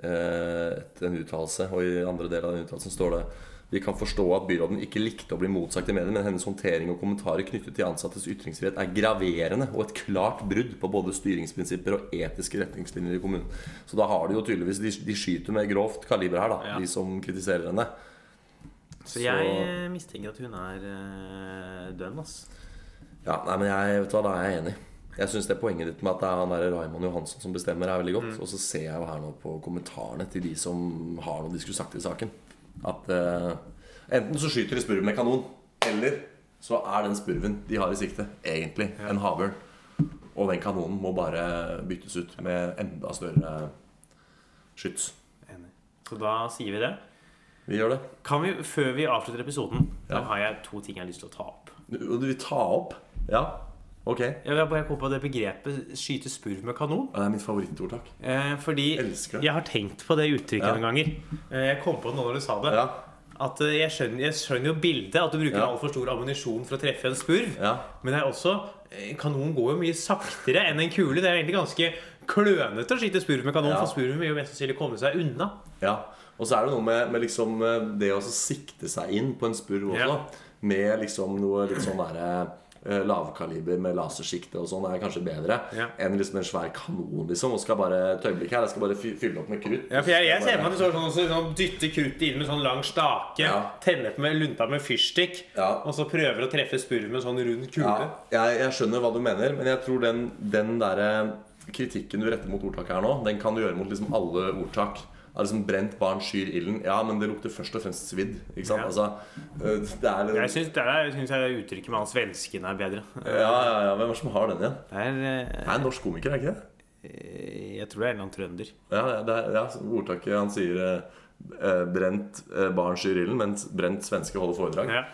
S4: eh, etter en uttalelse, og i andre del av den uttalelsen står det vi kan forstå at byråden ikke likte å bli motsagt i mediene, men hennes håndtering og kommentarer knyttet til ansattes ytringsfrihet er graverende og et klart brudd på både styringsprinsipper og etiske retningslinjer i kommunen. Så da har de jo tydeligvis De, de skyter med grovt kaliber her, da,
S2: Ja.
S4: de som kritiserer henne.
S2: Så jeg eh, mistenker at hun er eh, dønn, ass.
S4: Ja, nei, men jeg, vet du hva, da er jeg enig. Jeg synes det Poenget ditt med at det er han der Raymond Johansson som bestemmer, er veldig godt. Og så ser jeg jo her nå på kommentarene til de som har noe de skulle sagt i saken. At eh,
S3: Enten så skyter de spurven med kanon, eller så er den spurven de har i sikte, egentlig en havørn. Og den kanonen må bare byttes ut med enda større skyts.
S2: Enig. Så da sier vi det.
S4: vi gjør det.
S2: Kan vi, Før vi avslutter episoden, da
S3: Ja.
S2: har jeg to ting jeg har lyst til å ta opp.
S3: Du, du vil ta opp? Ja, ok. Ja,
S2: Jeg vil bare komme på det begrepet 'skyte spurv med kanon'.
S3: Det er mitt favorittord, takk.
S2: Eh, fordi
S3: Elsker det.
S2: jeg har tenkt på det uttrykket
S3: Ja.
S2: noen ganger. Eh, jeg kom på det nå når du sa det.
S3: Ja,
S2: At eh, jeg skjønner, jeg skjønner jo bildet, at du bruker
S3: Ja.
S2: altfor stor ammunisjon for å treffe en spurv.
S3: ja.
S2: Men det er også eh, kanon går jo mye saktere enn en kule. Det er egentlig ganske klønete å skyte spurv med kanon,
S3: Ja.
S2: for spurven vil jo mest sannsynlig komme seg unna.
S3: Ja, og så er det noe med, med liksom eh, det å så sikte seg inn på en spurv også.
S2: Ja.
S3: Med liksom noe litt sånn derre eh, Lavkaliber med lasersikte og sånn er kanskje bedre
S2: Ja.
S3: enn liksom en svær kanon. liksom Og skal bare et øyeblikk her, jeg skal bare fy- fylle opp med krutt.
S2: Ja, for jeg, jeg ser for meg at du står sånn, og så sånn, dytter kruttet inn med sånn lang stake,
S3: Ja.
S2: tenner på med lunta med fyrstikk,
S3: Ja.
S2: og så prøver å treffe spurven med en sånn rund kule.
S3: Ja, jeg, jeg skjønner hva du mener, men jeg tror den, den der eh, kritikken du retter mot ordtaket her nå, den kan du gjøre mot liksom alle ordtak. Er liksom Brent barn skyr ilden. Ja, men det lukter først og fremst svidd. Ikke sant?
S2: Ja.
S3: Altså, eh, det er
S2: Jeg syns det er- jeg synes jeg uttrykket med han svensken er bedre.
S3: ja, ja, ja, Hvem er det som har den igjen?
S2: Det er, eh,
S3: Det er en norsk komiker, er det ikke det?
S2: jeg tror det er en eller annen trønder.
S3: Ja, ja, det er, ja så ordtaket han sier eh, eh, Brent eh, barn skyr ilden, mens brent svenske holder foredrag.
S2: Ja.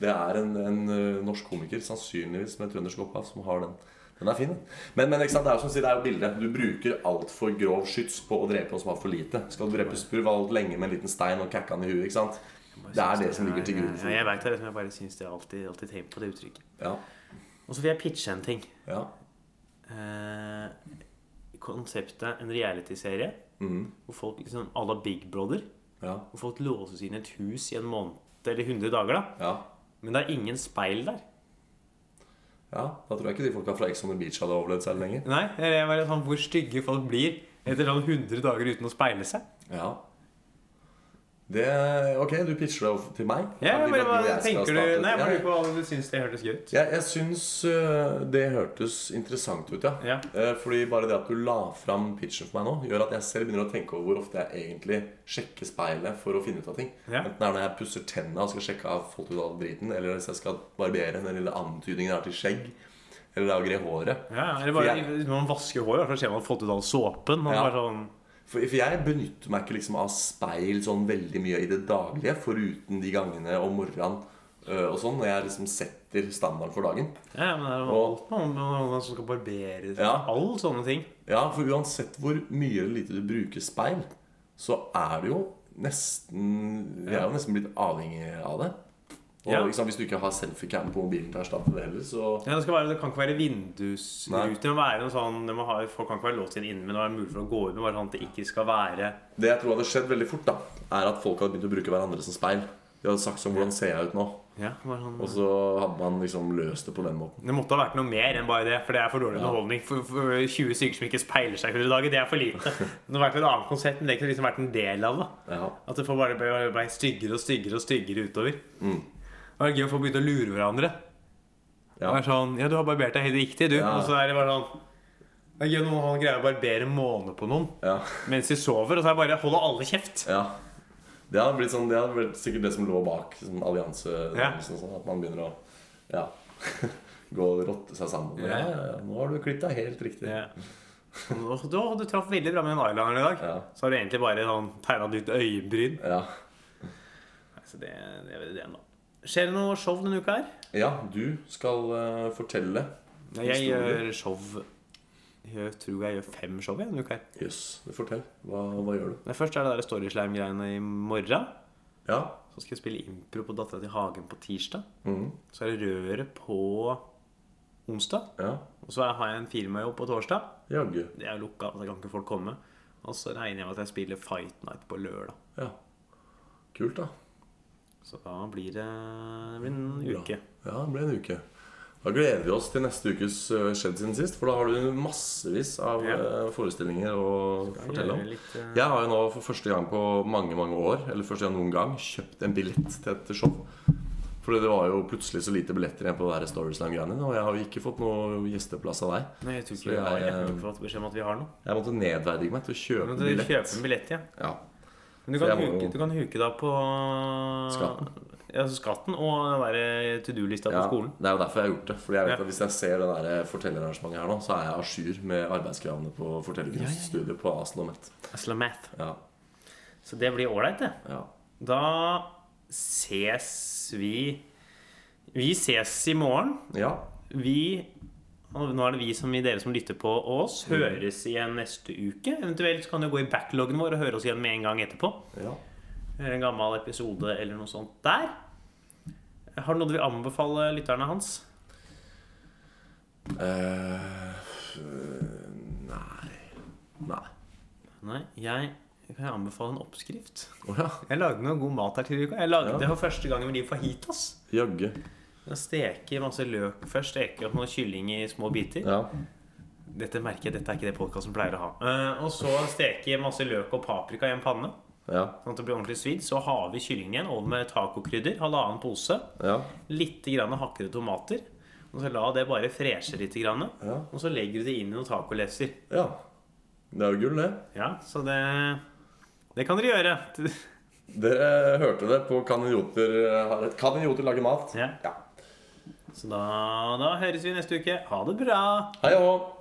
S3: Det er en, en eh, norsk komiker, sannsynligvis med trøndersk opphav, som har den. Den er fin. den. Men, men ikke sant? det er jo som å si, det er jo bildet. Du bruker altfor grov skyts på å drepe noen som har for lite. Skal du drepe spurv alt lenge med en liten stein og kakke han i huet? ikke sant? Det er det som ligger til grunn
S2: Ja,
S3: for
S2: jeg vet det, men jeg bare syns det er alltid, alltid tenkt på det uttrykket.
S3: Ja.
S2: Og så vil jeg pitche en ting.
S3: ja.
S2: Eh, konseptet en realityserie
S3: Mhm.
S2: hvor folk liksom à la Big Brother.
S3: Ja.
S2: Hvor folk låses inn i et hus i en måned eller 100 dager, da.
S3: ja.
S2: Men det er ingen speil der.
S3: Ja, Da tror jeg ikke de folka fra Ex on the Beach hadde overlevd særlig lenger.
S2: Nei, det er bare sånn Hvor stygge folk blir etter sånn 100 dager uten å speile seg.
S3: Ja. Det, ok, du pitcher det over til meg?
S2: Ja, bare,
S3: Det blir
S2: hva
S3: noe jeg skal
S2: tenker du?
S3: starte etter.
S2: Nei,
S3: Ja,
S2: bare
S3: ja.
S2: lurer på hva du syns det hørtes gøy ut.
S3: Jeg, jeg syns øh, det hørtes interessant ut, ja.
S2: Ja.
S3: Eh, Fordi bare det at du la fram pitchen for meg nå, gjør at jeg selv begynner å tenke over hvor ofte jeg egentlig sjekker speilet for å finne ut av ting.
S2: Ja.
S3: Enten det er når jeg pusser tenna og skal sjekke av fått ut all driten, eller hvis jeg skal barbere den lille antydningen jeg har til skjegg, eller lagre håret.
S2: Ja, eller bare Når
S3: For
S2: man vasker håret, så ser man fått ut all såpen. Man
S3: Ja.
S2: bare sånn
S3: For, for jeg benytter meg ikke liksom av speil sånn veldig mye i det daglige, foruten de gangene om morgenen øh, og sånn, når jeg liksom setter standarden for dagen.
S2: Ja, men det er jo
S3: Og-
S2: alt man, man, man som skal barbere seg.
S3: Ja.
S2: Alle sånne ting.
S3: Ja, for uansett hvor mye eller lite du bruker speil, så er det jo nesten Vi er jo nesten blitt avhengig av det. Og
S2: Ja.
S3: liksom, hvis du ikke har selfiecam på mobilen til å erstatte det heller, så
S2: Ja, det, skal være, det kan ikke være vindusruter. Det må være noe sånn, det må ha, folk kan ikke være låst inn inne, men det må være mulig for å gå ut. Men bare sånn at det ikke skal være
S3: Det jeg tror hadde skjedd veldig fort, da, er at folk hadde begynt å bruke hverandre som speil. De hadde sagt sånn Hvordan ser jeg ut nå?
S2: ja, bare sånn,
S3: Og så hadde man liksom løst det på den måten.
S2: Det måtte ha vært noe mer enn bare det, for det er for dårlig underholdning. For, for 20 stykker som ikke speiler seg i 100 dager, det er for
S3: <laughs>
S2: lite. Det har vært et annet konsept, men det kunne liksom vært en del av det.
S3: Ja.
S2: At det får bare ble, ble styggere og styggere og styggere utover.
S3: Mm.
S2: Det var gøy å få begynt å lure hverandre.
S3: Ja.
S2: Det var sånn, ja, du har barbert deg helt riktig, du.
S3: Ja.
S2: Og så er det bare sånn Det er gøy når han greier å barbere en måned på noen
S3: ja.
S2: mens de sover, og så er det bare holder alle kjeft.
S3: ja. Det hadde blitt sånn, det hadde vært sikkert det som lå bak sånn allianse.
S2: Ja.
S3: Liksom, sånn, at man begynner å ja, <laughs> gå og rotte seg sammen.
S2: Ja.
S3: Ja, ja, ja. Nå har du klippet deg helt riktig.
S2: Ja. Og Du, du traff veldig bra med den eyelineren i dag.
S3: Ja.
S2: Så har du egentlig bare sånn, tegna et nytt øyebryn.
S3: Ja.
S2: Nei, Så det, det er vel det nå. Skjer det noe show denne uka her?
S3: ja, du skal eh, fortelle.
S2: Nei, Jeg
S3: Historier.
S2: gjør show Jeg tror jeg gjør fem show jeg denne uka her.
S3: Jøss, fortell. Hva, hva gjør du?
S2: Men først er det der Storyslam-greiene i morgen.
S3: Ja.
S2: Så
S3: Mm.
S2: skal jeg spille impro på Dattera til Hagen på tirsdag.
S3: Mhm.
S2: Så er det Røret på onsdag.
S3: Ja,
S2: Og så har jeg en firmajobb på torsdag.
S3: jaggu.
S2: Det er jo lukka, så da kan ikke folk komme. Og så regner jeg med at jeg spiller Fight Night på lørdag.
S3: Ja. Kult, da.
S2: Så da blir det, det blir en
S3: Bra.
S2: uke.
S3: Ja, det ble en uke. Da gleder vi oss til neste ukes eh, Skjedd siden sist, for da har du massevis av
S2: Ja.
S3: eh, forestillinger å fortelle om.
S2: gjøre litt, eh,
S3: Jeg har jo nå for første gang på mange mange år eller første gang noen gang, kjøpt en billett til et show. Fordi det var jo plutselig så lite billetter igjen på det der Storyslam-greiene. Og jeg har jo ikke fått noe gjesteplass av deg.
S2: Nei, jeg tror
S3: Så
S2: ikke vi har
S3: jeg,
S2: jeg har
S3: eh,
S2: ikke fått beskjed om at vi har noe.
S3: Jeg måtte nedverdige meg til å kjøpe
S2: Men du
S3: billett.
S2: kjøper en billett, ja.
S3: Ja.
S2: Men du
S3: Så
S2: kan,
S3: jeg må
S2: huke,
S3: jo-
S2: du kan huke da på
S3: Skatten.
S2: Ja, så skatten og den der to do-lista
S3: Ja,
S2: på skolen.
S3: det er jo derfor jeg har gjort det. Fordi jeg vet
S2: Ja.
S3: at Hvis jeg ser det der eh, fortellerarrangementet her nå, så er jeg à jour med arbeidskravene på fortellerkunststudiet på Asen og Met.
S2: Slamath.
S3: Ja,
S2: Så det blir ålreit, det.
S3: ja.
S2: Da ses vi Vi ses i morgen.
S3: ja.
S2: Vi og Nå er det vi som dere som lytter på oss,
S3: Mm.
S2: høres igjen neste uke. Eventuelt så kan du gå i backloggen vår og høre oss igjen med en gang etterpå.
S3: ja.
S2: Høre en gammel episode eller noe sånt der. Har du noe du vil anbefale lytterne hans?
S3: Eh, øh, nei Nei.
S2: Nei, jeg kan jeg anbefale en oppskrift.
S3: Å ja.
S2: Jeg lagde noe god mat her til uka. Jeg lagde
S3: Ja.
S2: det for første gangen i mitt liv fajitas.
S3: Jaggu.
S2: Jeg steker masse løk først. Steker opp noe kylling i små biter.
S3: Ja.
S2: Dette merker jeg, dette er ikke det podkasten pleier å ha. Eh, og så steker jeg masse løk og paprika i en panne.
S3: Ja.
S2: Sånn at det blir ordentlig svidd. Så har vi kyllingen igjen over med tacokrydder. Halvannen pose.
S3: Ja.
S2: Litt grann hakkede tomater. Og så la det bare freshe litt. Grann,
S3: Ja.
S2: Og så legger du det inn i noen tacolefser.
S3: ja. Det er jo gull, det.
S2: Ja, så det Det kan dere gjøre. <laughs>
S3: Dere hørte det på Kan idioter, har et- kan idioter lage mat?
S2: Ja. Så da, da høres vi neste uke. Ha det bra.
S3: Hei og hå!